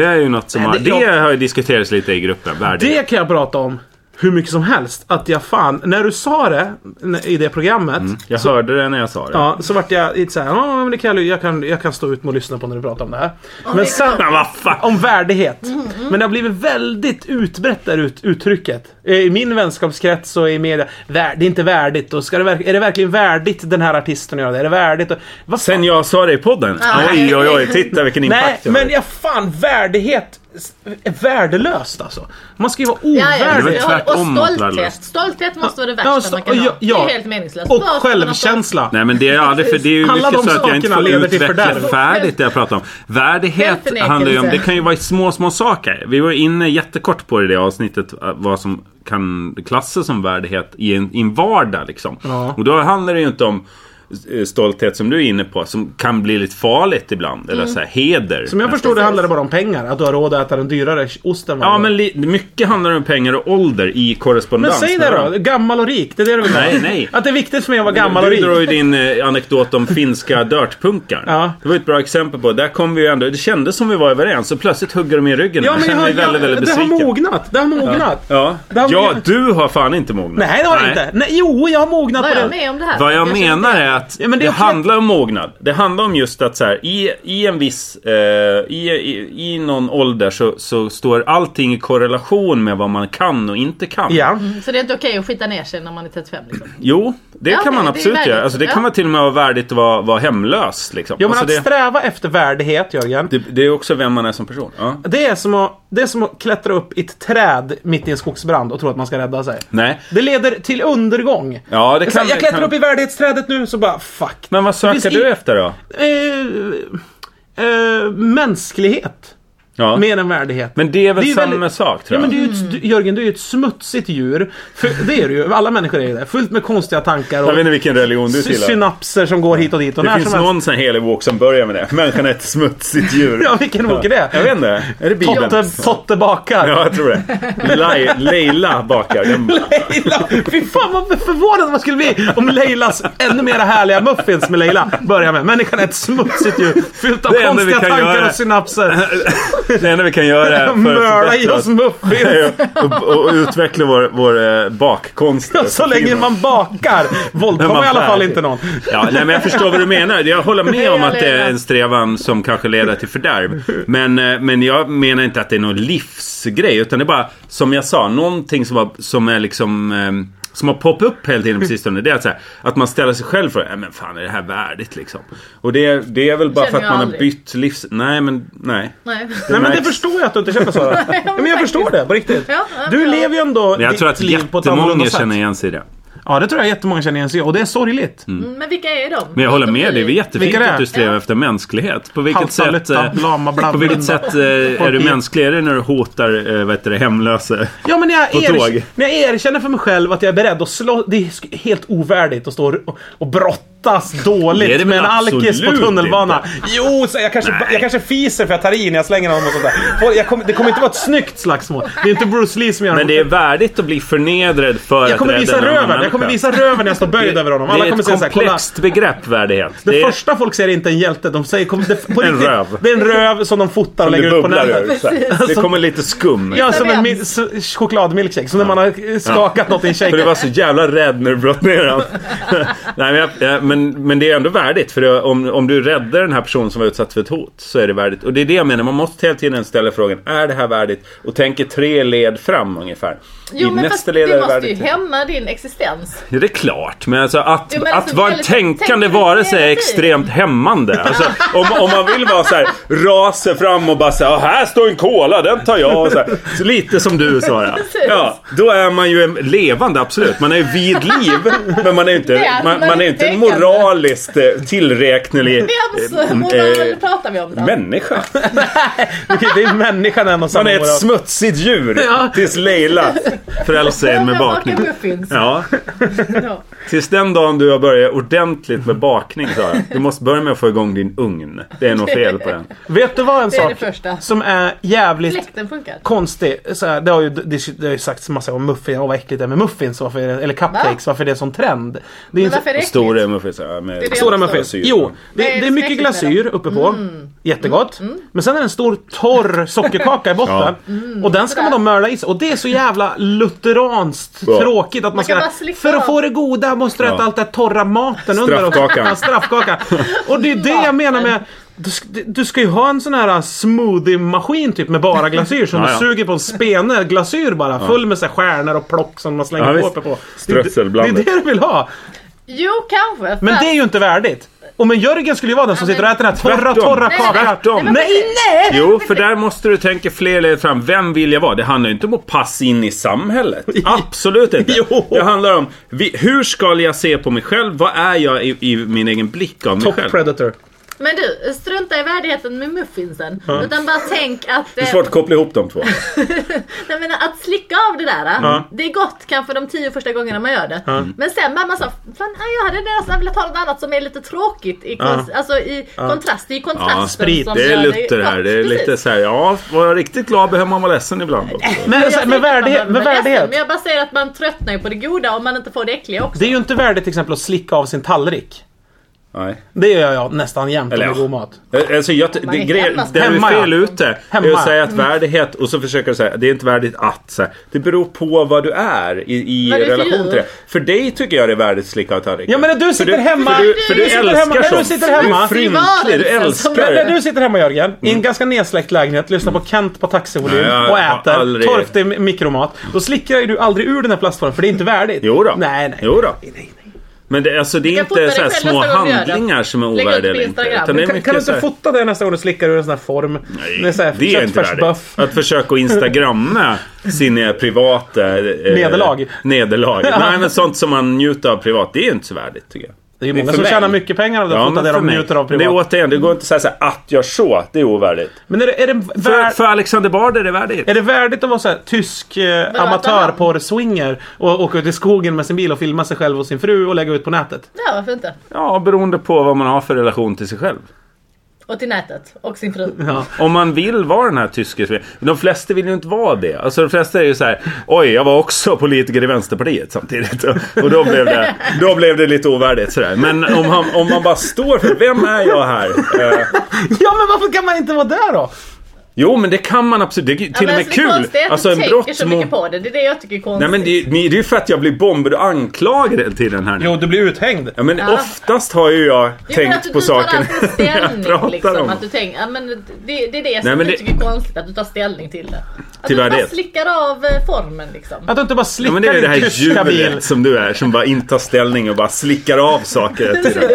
Speaker 1: det är ju något som har,
Speaker 2: Nej, det-
Speaker 1: det har ju diskuterats lite i gruppen.
Speaker 2: Det
Speaker 1: Värdighet.
Speaker 2: kan jag prata om hur mycket som helst. Att jag fan, när du sa det n- i det programmet.
Speaker 1: Jag hörde det när jag sa det.
Speaker 2: Ja, så vart jag lite såhär, ja men det kan jag, jag, kan, jag kan stå ut med att lyssna på när du pratar om det här. men
Speaker 3: det-
Speaker 2: sen,
Speaker 1: Men <laughs> vad fan.
Speaker 2: om värdighet. Men det har blivit väldigt utbrett där ut, uttrycket. Eh, I min vänskapskrets och i media. Vär, det är inte värdigt. Och ska det, verk- är det verkligen värdigt den här artisten att göra det? Är det värdigt? Och, vad fan?
Speaker 1: Sen jag sa det i podden.
Speaker 3: Nej.
Speaker 1: Oj, oj, oj. Titta vilken
Speaker 2: Nej,
Speaker 1: impact jag
Speaker 2: men
Speaker 1: har.
Speaker 2: jag fan värdighet s- är värdelöst alltså. Man ska ju vara
Speaker 3: Ja, ja,
Speaker 2: ovärdig.
Speaker 1: väl
Speaker 3: jag håller-
Speaker 1: tvärtom
Speaker 3: och
Speaker 1: mot värdelöst.
Speaker 3: stolthet. Stolthet måste vara det värsta
Speaker 2: Ja, så-
Speaker 3: man kan
Speaker 2: ja,
Speaker 3: ha.
Speaker 2: ja.
Speaker 3: Det är helt meningslöst.
Speaker 2: Och
Speaker 3: Bara ska man ha stolt-
Speaker 2: självkänsla.
Speaker 1: Nej men det är aldrig för det är ju
Speaker 2: Alla
Speaker 1: mycket
Speaker 2: de
Speaker 1: så att jag inte
Speaker 2: sakerna
Speaker 1: får
Speaker 2: leder till
Speaker 1: utveckla
Speaker 2: fördärv.
Speaker 1: färdigt det jag pratar om. Värdighet
Speaker 3: Självförnekelse.
Speaker 1: handlar ju om, det kan ju vara små, små saker. Vi var inne jättekort på det i det avsnittet, eh, vad som kan klassa som värdighet i en, i en vardag. Liksom.
Speaker 2: Ja.
Speaker 1: Och då handlar det ju inte om eh, stolthet som du är inne på som kan bli lite farligt ibland. Eller så här, heder.
Speaker 2: Som jag
Speaker 1: nästan.
Speaker 2: förstod det handlar det bara om pengar. Att du har råd att äta den dyrare osten varje
Speaker 1: Ja,
Speaker 2: dag.
Speaker 1: men li- mycket handlar om pengar och ålder i
Speaker 2: men
Speaker 1: korrespondens.
Speaker 2: säg det
Speaker 1: med
Speaker 2: då!
Speaker 1: varandra.
Speaker 2: Gammal och rik, det är det du vill ha.
Speaker 1: Nej, nej.
Speaker 2: Att det är viktigt för mig att vara gammal och
Speaker 1: Du
Speaker 2: rik.
Speaker 1: drar ju din eh, anekdot
Speaker 2: <laughs>
Speaker 1: om finska dirtpunkar.
Speaker 2: Ja.
Speaker 1: Det var ju ett bra exempel på. Där kom vi ju ändå... Det kändes som vi var överens och plötsligt hugger de i ryggen.
Speaker 2: Ja, men jag
Speaker 1: känner
Speaker 2: har,
Speaker 1: mig väldigt, väldigt
Speaker 2: det har
Speaker 1: besviken.
Speaker 2: mognat. Det har mognat.
Speaker 1: Ja.
Speaker 2: Det har
Speaker 1: ja,
Speaker 2: mognat.
Speaker 1: du har fan inte mognat.
Speaker 2: Nej, det har det inte. Nej, jo, jag har mognat
Speaker 3: Var
Speaker 2: på det.
Speaker 3: jag med om det här?
Speaker 1: Vad jag,
Speaker 3: känner
Speaker 1: menar
Speaker 3: inte-
Speaker 1: är att
Speaker 2: Ja, men
Speaker 1: det,
Speaker 2: det är också-
Speaker 1: handlar om mognad. Det handlar om just att så här, i, i en viss... Eh, i, i, I någon ålder så, så står allting i korrelation med vad man kan och inte kan.
Speaker 2: Ja.
Speaker 3: Mm, Så det är inte okej att skita ner sig när man är 35 liksom.
Speaker 1: Jo, det
Speaker 3: Ja,
Speaker 1: kan man
Speaker 3: det är
Speaker 1: absolut
Speaker 3: värdigt.
Speaker 1: göra. Alltså, det kan
Speaker 3: Ja.
Speaker 1: vara till och med vara värdigt att vara, vara hemlös. Liksom.
Speaker 2: Jo, men
Speaker 1: alltså,
Speaker 2: att
Speaker 1: det,
Speaker 2: sträva efter värdighet, Jörgen.
Speaker 1: det, det är också vem man är som person. Ja.
Speaker 2: Det är, som att, det är som att klättra upp i ett träd mitt i en skogsbrand och tro att man ska rädda sig.
Speaker 1: Nej.
Speaker 2: Det leder till undergång.
Speaker 1: Ja, det
Speaker 2: Så
Speaker 1: kan,
Speaker 2: jag klättrar
Speaker 1: kan...
Speaker 2: upp i värdighetsträdet nu, så bara fuck.
Speaker 1: Men vad söker
Speaker 2: finns
Speaker 1: du
Speaker 2: i-
Speaker 1: efter då?
Speaker 2: Eh, eh, mänsklighet.
Speaker 1: Ja.
Speaker 2: Mer än värdighet.
Speaker 1: Men det är väl
Speaker 2: det är ju
Speaker 1: samma
Speaker 2: väldigt-
Speaker 1: sak tror
Speaker 2: Ja,
Speaker 1: jag.
Speaker 2: men du är ju ett, du, Jörgen, du är ju ett smutsigt djur. För, det är du ju. Alla människor är ju det. Fullt med konstiga tankar
Speaker 1: Jag vet
Speaker 2: och
Speaker 1: inte vilken religion du
Speaker 2: sy-
Speaker 1: tillhör.
Speaker 2: synapser som går hit och dit. Och
Speaker 1: Det
Speaker 2: när
Speaker 1: finns
Speaker 2: som helst.
Speaker 1: någon sån här helig bok som börjar med det. Människan är ett smutsigt djur.
Speaker 2: Ja, vilken bok är det?
Speaker 1: Jag vet inte. Är det Bibeln?
Speaker 2: Totte, Totte bakar.
Speaker 1: Ja, jag tror det. Lai- Leila bakar. Den...
Speaker 2: Leila! Fy fan vad förvånad man skulle bli om Leilas ännu mer härliga muffins med Leila börjar med. Människan är ett smutsigt djur fyllt av
Speaker 1: Det enda vi
Speaker 2: konstiga
Speaker 1: kan
Speaker 2: tankar
Speaker 1: göra-
Speaker 2: och
Speaker 1: <laughs>
Speaker 2: synapser.
Speaker 1: Det enda vi kan göra för att
Speaker 2: Mörda i
Speaker 1: förbättra
Speaker 2: oss muffins.
Speaker 1: är att- <laughs> och, och utveckla vår, vår eh, bakkonst.
Speaker 2: Så länge man bakar
Speaker 1: När
Speaker 2: våldtar
Speaker 1: man
Speaker 2: man i alla fall
Speaker 1: bär.
Speaker 2: inte någon.
Speaker 1: Ja, nej, men jag förstår vad du menar. Jag håller med om att det är en strävan som kanske leder till fördärv. Men, eh, men jag menar inte att det är någon livsgrej. Utan det är bara, som jag sa, någonting som, har, som är liksom... eh, Som har poppat upp hela tiden på sistone. Det är att, så här, att man ställer sig själv frågan, "Nej, men fan är det här värdigt liksom? Och det, det är väl bara för
Speaker 3: Känner
Speaker 1: att man
Speaker 3: jag
Speaker 1: har
Speaker 3: aldrig.
Speaker 1: bytt livs... Nej, men nej.
Speaker 3: Nej.
Speaker 2: Nej men det
Speaker 1: märks.
Speaker 2: förstår jag att du inte känner
Speaker 3: <laughs>
Speaker 2: så. Ja, men jag förstår det på riktigt.
Speaker 3: Ja, ja,
Speaker 2: Du
Speaker 3: ja.
Speaker 2: lever ju ändå
Speaker 1: Men jag tror
Speaker 2: ditt
Speaker 1: att
Speaker 2: liv på ett annorlunda
Speaker 1: jättemånga
Speaker 2: sätt.
Speaker 1: känner igen sig i det.
Speaker 2: Ja det tror jag jättemånga känner igen sig i och det är sorgligt.
Speaker 3: Mm, Men vilka är de?
Speaker 1: Men jag håller med dig. Det är jättefint
Speaker 2: Vilka det är?
Speaker 1: att du strävar efter mänsklighet. På vilket
Speaker 2: Halta,
Speaker 1: sätt,
Speaker 2: lutta,
Speaker 1: eh,
Speaker 2: lama, bla,
Speaker 1: på vilket
Speaker 2: bla.
Speaker 1: sätt eh, är du mänskligare när du hotar eh, vad heter det, hemlösa?
Speaker 2: Ja men när jag,
Speaker 1: På tåg.
Speaker 2: er, när jag erkänner för mig själv att jag är beredd att slå. Det är sk- helt ovärdigt att stå och, och brottas
Speaker 1: Det är det
Speaker 2: dåligt med en
Speaker 1: väl
Speaker 2: alkis på
Speaker 1: absolut
Speaker 2: tunnelbana.
Speaker 1: inte.
Speaker 2: Jo, så jag, kanske, jag kanske fiser för jag tar i när jag slänger honom och sånt där. Folk- Jag kommer- det kommer inte vara ett snyggt slagsmål. Det är inte Bruce Lee som gör
Speaker 1: Men det är värdigt att bli förnedrad för
Speaker 2: Jag kommer
Speaker 1: att
Speaker 2: visa
Speaker 1: rädda en annan
Speaker 2: röven. Jag kommer
Speaker 1: människa.
Speaker 2: visa röven när jag står böjd över honom. Alla
Speaker 1: det är
Speaker 2: kommer
Speaker 1: ett
Speaker 2: säga såhär, kolla.
Speaker 1: komplext begrepp värdighet.
Speaker 2: Det,
Speaker 1: är-
Speaker 2: första folk ser är inte en hjälte. De säger, kom, det, på
Speaker 1: En
Speaker 2: riktigt,
Speaker 1: röv.
Speaker 2: Det är en röv som de fotar och
Speaker 1: det
Speaker 2: lägger ut på
Speaker 1: bubblar
Speaker 2: nätet.
Speaker 1: ur. så
Speaker 2: <laughs>
Speaker 1: här. Det kommer lite skum.
Speaker 2: Ja, som en
Speaker 3: Vems?
Speaker 2: mil- s- chokladmilkshake. Som när man har skakat något i en
Speaker 1: För du
Speaker 2: shake.
Speaker 1: var så jävla rädd när du bröt
Speaker 2: <laughs>
Speaker 1: ner den. Nej, men, jag, ja, men, men det är ändå värdigt. För det, om, om du räddar den här personen som var utsatt för ett hot så är det värdigt. Och det är det jag menar. Man måste hela tiden ställa frågan, är det här värdigt? Och tänker tre led fram ungefär.
Speaker 3: Jo men fast
Speaker 1: led är
Speaker 3: du
Speaker 1: det
Speaker 3: måste ju
Speaker 1: värdigt.
Speaker 3: hämma din existens.
Speaker 1: Ja, det är klart. Men alltså att,
Speaker 3: Jo, men
Speaker 1: att
Speaker 3: alltså,
Speaker 1: vara en
Speaker 3: väldigt- tänker
Speaker 1: tänkande
Speaker 3: du
Speaker 1: varelse är
Speaker 3: hela tiden?
Speaker 1: extremt hämmande. Alltså, om, om man vill vara så här, raser fram och bara så här, "Ah, här står en cola, den tar jag. Och så här. Så lite som du
Speaker 3: <laughs>
Speaker 1: Sara. Ja, då är man ju en levande, absolut. Man är ju vid liv, men man är ju
Speaker 3: Det
Speaker 1: inte,
Speaker 3: är- alltså
Speaker 1: man,
Speaker 3: man
Speaker 1: man är
Speaker 3: är
Speaker 1: inte en
Speaker 3: tänkande.
Speaker 1: moraliskt eh, tillräknelig
Speaker 3: Vems
Speaker 1: eh,
Speaker 3: alltså moral
Speaker 1: eh,
Speaker 3: pratar vi om då?
Speaker 1: människa.
Speaker 2: Okej, det är människan en och
Speaker 1: Man
Speaker 2: samma.
Speaker 1: är ett
Speaker 2: moral.
Speaker 1: smutsigt djur tills
Speaker 3: <laughs>
Speaker 1: Leila frälser en med bakning.
Speaker 3: bakning.
Speaker 1: Ja, Tills den dagen du har börjat ordentligt med bakning Sara. Du måste börja med att få igång din ugn. Det är nog fel
Speaker 3: <laughs>
Speaker 1: på den.
Speaker 2: Vet du vad en
Speaker 3: Det är det
Speaker 2: sak
Speaker 3: första.
Speaker 2: som är jävligt
Speaker 3: Fläkten funkar.
Speaker 2: konstig. Så här, det har ju, det, det har ju sagts massa om muffins. Åh vad äckligt det är med muffins. Varför är det, eller cupcakes. Varför är det en sån trend? Det är
Speaker 3: Men
Speaker 2: inte-
Speaker 3: varför är det äckligt?
Speaker 1: Stora muffins. ja, Med...
Speaker 3: det
Speaker 2: Stora
Speaker 3: också.
Speaker 2: muffins.
Speaker 1: Syra.
Speaker 2: Jo, det,
Speaker 3: Vad är det
Speaker 2: det är
Speaker 3: som är
Speaker 2: mycket
Speaker 3: äckligt med Mm.
Speaker 2: glasyr uppe på. Jättegott. Men sen är det en stor torr sockerkaka i botten.
Speaker 3: Mm.
Speaker 2: Och den ska man då mörda i sig. Och det är så jävla lutheranskt
Speaker 1: Ja.
Speaker 2: tråkigt att man
Speaker 3: kan
Speaker 2: ska...
Speaker 3: bara slicka
Speaker 2: För att
Speaker 3: av.
Speaker 2: få det goda måste du äta
Speaker 1: Ja.
Speaker 2: allt det här torra maten under. och-
Speaker 1: Straffkakan.
Speaker 2: Ja, straffkakan. Och det är det jag menar med... Du ska, du ska ju ha en sån här uh, smoothie-maskin typ med
Speaker 1: <laughs>
Speaker 2: bara glasyr som
Speaker 1: Ja,
Speaker 2: du
Speaker 1: ja.
Speaker 2: suger på en spene glasyr bara full med så här stjärnor och plock som man
Speaker 1: Ja,
Speaker 2: slänger
Speaker 1: visst.
Speaker 2: på uppe på. Det är-
Speaker 1: Strösselblandet.
Speaker 2: Det är det du vill ha.
Speaker 3: Jo kanske.
Speaker 2: Men
Speaker 3: för-
Speaker 2: det är ju inte värdigt. Och men Jörgen skulle ju vara den som
Speaker 3: Ja, men-
Speaker 2: sitter och äter den här torra,
Speaker 1: Tvärtom.
Speaker 2: torra
Speaker 1: Nej,
Speaker 2: kakan.
Speaker 1: tvärtom.
Speaker 2: Nej, nej!
Speaker 1: Jo, för där måste du tänka fler led fram. Vem vill jag vara? Det handlar ju inte om att passa in
Speaker 2: <laughs>
Speaker 1: i samhället. Absolut inte.
Speaker 2: Jo.
Speaker 1: Det handlar om vi, hur ska jag se på mig själv? Vad är jag i, i min egen blick av mig
Speaker 2: Top
Speaker 1: själv?
Speaker 2: predator.
Speaker 3: Men du, strunta i värdigheten med muffinsen. Utan bara tänk att...
Speaker 1: Det är
Speaker 3: eh,
Speaker 1: svårt att koppla ihop de två.
Speaker 3: Jag menar att slicka av det där. eh,
Speaker 2: Ja.
Speaker 3: Det är gott kanske de tio första gångerna man gör det.
Speaker 2: Ja.
Speaker 3: Men sen bara man sa, fan nej, jag hade nästan velat ha något annat som är lite tråkigt. I kon- Alltså i kontrast. Det är ju kontrasten
Speaker 1: Ja, sprit.
Speaker 3: som
Speaker 1: Det
Speaker 3: gör
Speaker 1: är Luther
Speaker 3: gott.
Speaker 1: här. Det är lite
Speaker 3: Precis.
Speaker 1: så här, ja, vara riktigt glad behöver man vara ledsen ibland också.
Speaker 2: Men, men
Speaker 3: Jag säger inte att man
Speaker 2: alltså, värdighet,
Speaker 3: behöver
Speaker 2: men
Speaker 3: vara ledsen,
Speaker 2: värdighet.
Speaker 3: Men jag bara säger att man tröttnar ju på det goda om man inte får det äckliga också.
Speaker 2: Det är ju inte värdigt till exempel att slicka av sin tallrik.
Speaker 1: Nej.
Speaker 2: Det gör jag nästan jämt
Speaker 1: Eller
Speaker 2: med
Speaker 1: ja.
Speaker 2: god mat.
Speaker 1: Alltså jag,
Speaker 3: Man
Speaker 1: det,
Speaker 3: är
Speaker 1: grejer,
Speaker 3: hemma. Mm.
Speaker 1: där du
Speaker 2: Hemma,
Speaker 1: är fel
Speaker 2: ja.
Speaker 1: ute är
Speaker 2: Hemma.
Speaker 1: att säga att värdighet och så försöker du säga det är inte värdigt att. Så här, det beror på vad du är i, i
Speaker 3: Vad du är för
Speaker 1: relation till
Speaker 3: djur.
Speaker 1: det. För dig tycker jag det är värdigt att slicka av tallriken.
Speaker 2: Ja men när du sitter hemma.
Speaker 1: För du, för du,
Speaker 2: sitter hemma-
Speaker 1: älskar
Speaker 2: när
Speaker 1: sånt.
Speaker 2: du sitter hemma.
Speaker 1: Du är fryntlig, du
Speaker 3: Varelsen som-
Speaker 1: älskar
Speaker 2: När du sitter hemma Jörgen, i en ganska nedsläckt lägenhet, lyssnar på Kent på taxivolym
Speaker 1: Mm. Nej, jag
Speaker 2: och
Speaker 1: har
Speaker 2: äter
Speaker 1: aldrig-
Speaker 2: torftig mi- mikromat. Då slickar ju du aldrig ur den här plastformen för det är inte värdigt.
Speaker 1: Jo då.
Speaker 2: Nej, nej.
Speaker 1: Jo då. Men det, alltså, det är
Speaker 3: kan fota
Speaker 1: inte
Speaker 3: dig
Speaker 1: så här
Speaker 3: själv
Speaker 1: små
Speaker 3: nästa gång du gör det.
Speaker 1: handlingar som är
Speaker 3: Lägg ut på
Speaker 1: ovärdiga eller inte.
Speaker 3: Instagram.
Speaker 1: Utan det är
Speaker 2: Kan,
Speaker 1: mycket
Speaker 2: kan du
Speaker 1: så
Speaker 2: inte
Speaker 1: här-
Speaker 2: fota det nästa gång du slickar ur en sån här form? Nej, så här,
Speaker 1: Det är inte värdigt.
Speaker 2: köttfärsbuff.
Speaker 1: Att
Speaker 2: <laughs>
Speaker 1: försöka instagramma sina privata... Eh,
Speaker 2: Nederlag.
Speaker 1: Nederlag. Nej, men sånt som man njuter av privat, det är ju inte så värdigt tycker jag.
Speaker 2: Det är ju många
Speaker 1: för
Speaker 2: som
Speaker 1: mig.
Speaker 2: tjänar mycket pengar av det,
Speaker 1: Ja,
Speaker 2: att fota
Speaker 1: men
Speaker 2: det
Speaker 1: för
Speaker 2: de
Speaker 1: mig.
Speaker 2: njuter av
Speaker 1: Men Det är
Speaker 2: privat.
Speaker 1: återigen, det går inte att säga så här, att jag så, det är ovärdigt.
Speaker 2: Men är det, är det,
Speaker 1: För,
Speaker 2: vär,
Speaker 1: för Alexander Bard är det värdigt.
Speaker 2: är det värdigt att vara så här, tysk eh,
Speaker 3: Vadå, att han-
Speaker 2: amatörporrswinger och åka ut i skogen med sin bil och filma sig själv och sin fru och lägga ut på nätet?
Speaker 3: Ja, varför inte?
Speaker 1: Ja, beroende på vad man har för relation till sig själv.
Speaker 3: Och till nätet. Och sin fru.
Speaker 2: Ja.
Speaker 1: Om man vill vara den här tyske men De flesta vill ju inte vara det. Alltså de flesta är ju så här. Oj, jag var också politiker i Vänsterpartiet samtidigt. Och, och då, blev det, då blev det lite ovärdigt sådär. Men om, han, om man bara står för vem är jag här? Eh,
Speaker 2: Ja, men varför kan man inte vara där då?
Speaker 1: jo, men det kan man absolut. Det är till
Speaker 3: Ja, men
Speaker 1: och
Speaker 3: alltså,
Speaker 1: med
Speaker 3: det konstiga är
Speaker 1: kul.
Speaker 3: att
Speaker 1: Alltså
Speaker 3: du
Speaker 1: en
Speaker 3: tänker så mycket
Speaker 1: brottsmål.
Speaker 3: på det. Det är det jag tycker är
Speaker 1: Nej
Speaker 3: konstigt.
Speaker 1: men det är ju ni- det är ju för att jag blir bombad och anklagad hela tiden här nu.
Speaker 2: Jo, du blir uthängd.
Speaker 1: Ja, men oftast har ju jag
Speaker 3: Jo, men att
Speaker 1: tänkt
Speaker 3: du-
Speaker 1: på
Speaker 3: du tar
Speaker 1: saken
Speaker 3: alltid
Speaker 1: <laughs>
Speaker 3: ställning,
Speaker 1: pratar
Speaker 3: liksom,
Speaker 1: om.
Speaker 3: Att du tänker, ja, men det, det är det som
Speaker 1: Nej, men
Speaker 3: du
Speaker 1: det-
Speaker 3: tycker är konstigt, att du tar ställning till det. Att
Speaker 1: Till
Speaker 3: du bara
Speaker 1: värdighet.
Speaker 3: slickar av eh, formen liksom.
Speaker 2: Att du inte bara
Speaker 1: Ja,
Speaker 2: slickar
Speaker 1: men det är ju det
Speaker 2: din
Speaker 1: här
Speaker 2: tyska bil.
Speaker 1: djuret som du är som bara inte tar ställning och bara slickar av saker
Speaker 2: <laughs>
Speaker 1: hela tiden.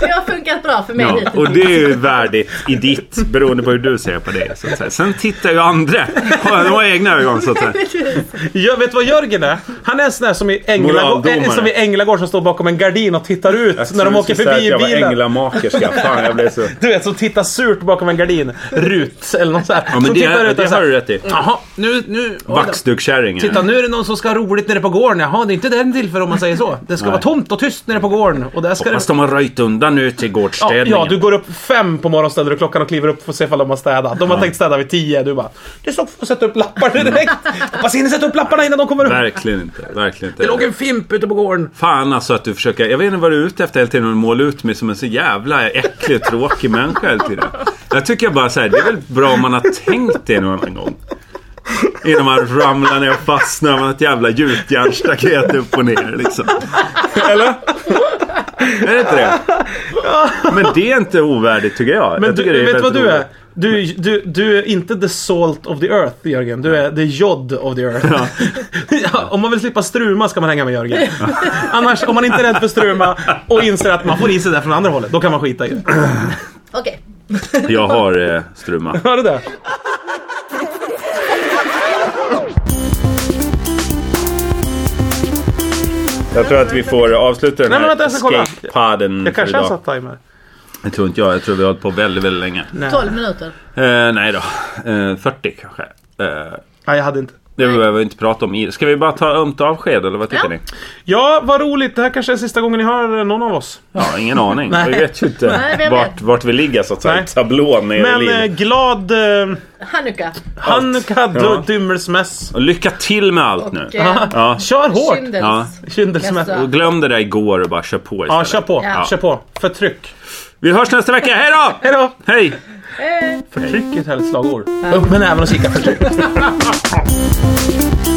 Speaker 3: Det har funkat bra för mig
Speaker 1: Ja,
Speaker 3: hittills.
Speaker 1: och det är ju värdigt i ditt, beroende på hur du ser på det. Så att säga. Sen tittar ju andra. De har egna ögon så att
Speaker 3: <laughs>
Speaker 1: säga.
Speaker 2: Jag vet du vad Jörgen är? Han är en sån där som i Änglagård,
Speaker 1: Moraldomare.
Speaker 2: äh, som, i Änglagård som står bakom en gardin och tittar ut Alltså, när de åker
Speaker 1: Jag skulle säga att
Speaker 2: förbi i
Speaker 1: Jag var
Speaker 2: bilen.
Speaker 1: änglamakerska. Fan, jag blev så...
Speaker 2: Du vet, som tittar surt bakom en gardin. Rut eller något sånt där.
Speaker 1: Ja, men
Speaker 2: som
Speaker 1: det,
Speaker 2: tittar
Speaker 1: det,
Speaker 2: ut och
Speaker 1: det
Speaker 2: så
Speaker 1: har
Speaker 2: här,
Speaker 1: du rätt i.
Speaker 2: Jaha, nu... nu oj då.
Speaker 1: Vaxdugkärringen.
Speaker 2: Titta, nu är det någon som ska ha roligt nere på gården. Jaha, det är inte den tillfället om man säger så. Det ska
Speaker 1: Nej.
Speaker 2: vara tomt och tyst nere på gården. Och där ska det...
Speaker 1: Fast de har röjt undan nu till
Speaker 2: Ja,
Speaker 1: gårdsstädningen.
Speaker 2: ja, du går upp fem på morgonen, ställer du klockan och kliver upp för att se ifall de har städat. De har tänkt städa vid tio. Du bara, det står att sätta upp lappar direkt. Hoppas hinner sätta upp lapparna innan de kommer upp.
Speaker 1: Verkligen inte. Verkligen inte.
Speaker 2: Det låg en fimp ute på gården.
Speaker 1: Fan alltså att du försöker, jag vet inte vad du är ute efter hela tiden och måla ut mig som en så jävla äcklig och tråkig människa hela tiden. Jag tycker bara så här, det är väl bra om man har tänkt det någon annan gång. Innan man ramlar ner och fastnar med ett jävla gjutjärnsstaket upp och ner liksom. Eller? Är det inte det? Men det är inte ovärdigt tycker jag.
Speaker 2: Men
Speaker 1: jag tycker
Speaker 2: du,
Speaker 1: det
Speaker 2: vet vad
Speaker 1: väldigt
Speaker 2: du är?
Speaker 1: ovärdigt.
Speaker 2: Du, du, du är inte the salt of the earth Jörgen. Du är the jod of the earth. <laughs> Ja. om man vill slippa struma ska man hänga med
Speaker 1: <laughs>
Speaker 2: Jörgen. Annars, om man inte är rädd för struma och inser att man får i sig det från andra hållet, då kan man skita i det.
Speaker 3: Okej. <laughs>
Speaker 1: Jag har eh, struma.
Speaker 2: Hör du det?
Speaker 1: Jag tror att vi får avsluta den
Speaker 2: Nej, men
Speaker 1: här
Speaker 2: vänta, jag ska kolla.
Speaker 1: escape-podden
Speaker 2: Jag
Speaker 1: för
Speaker 2: kanske har
Speaker 1: idag.
Speaker 2: satt timer.
Speaker 1: Jag tror inte jag, jag tror vi har hållit på väldigt, väldigt länge.
Speaker 2: Nej.
Speaker 3: 12 minuter.
Speaker 1: Eh, nej då. Eh, 40 kanske. Eh,
Speaker 2: Nej, jag hade inte.
Speaker 1: det behöver vi inte prata om. i- Ska vi bara ta ömt avsked eller vad tycker
Speaker 3: Ja.
Speaker 1: ni?
Speaker 2: Ja, vad roligt. Det här kanske är sista gången ni hör någon av oss.
Speaker 1: Ja, ingen
Speaker 2: <laughs>
Speaker 1: aning.
Speaker 2: Nej.
Speaker 1: Vi vet ju inte
Speaker 3: Nej, vem
Speaker 1: vart,
Speaker 3: vet?
Speaker 1: vart vi ligger så att säga.
Speaker 2: Nej.
Speaker 1: i Tablån nere i
Speaker 2: Men eh,
Speaker 1: livet.
Speaker 2: glad eh,
Speaker 3: Hanukka.
Speaker 2: Hanukka
Speaker 1: Ja.
Speaker 2: ja. Dymmelsmäss.
Speaker 1: Och lycka till med allt nu. <laughs>
Speaker 3: Och, eh,
Speaker 1: Ja.
Speaker 2: Kör hårt!
Speaker 3: Kindles.
Speaker 1: Ja.
Speaker 2: Kindelsmäss.
Speaker 3: Nästa.
Speaker 1: Och glöm det där igår och bara kör på istället.
Speaker 2: Ja, kör på.
Speaker 3: Ja.
Speaker 2: Kör på. Förtryck.
Speaker 1: Vi hörs nästa vecka. Hej då!
Speaker 2: Hej då!
Speaker 1: Hej!
Speaker 3: Eh.
Speaker 2: Förtryck är ett härligt slagord. Upp med näven och kika förtryck.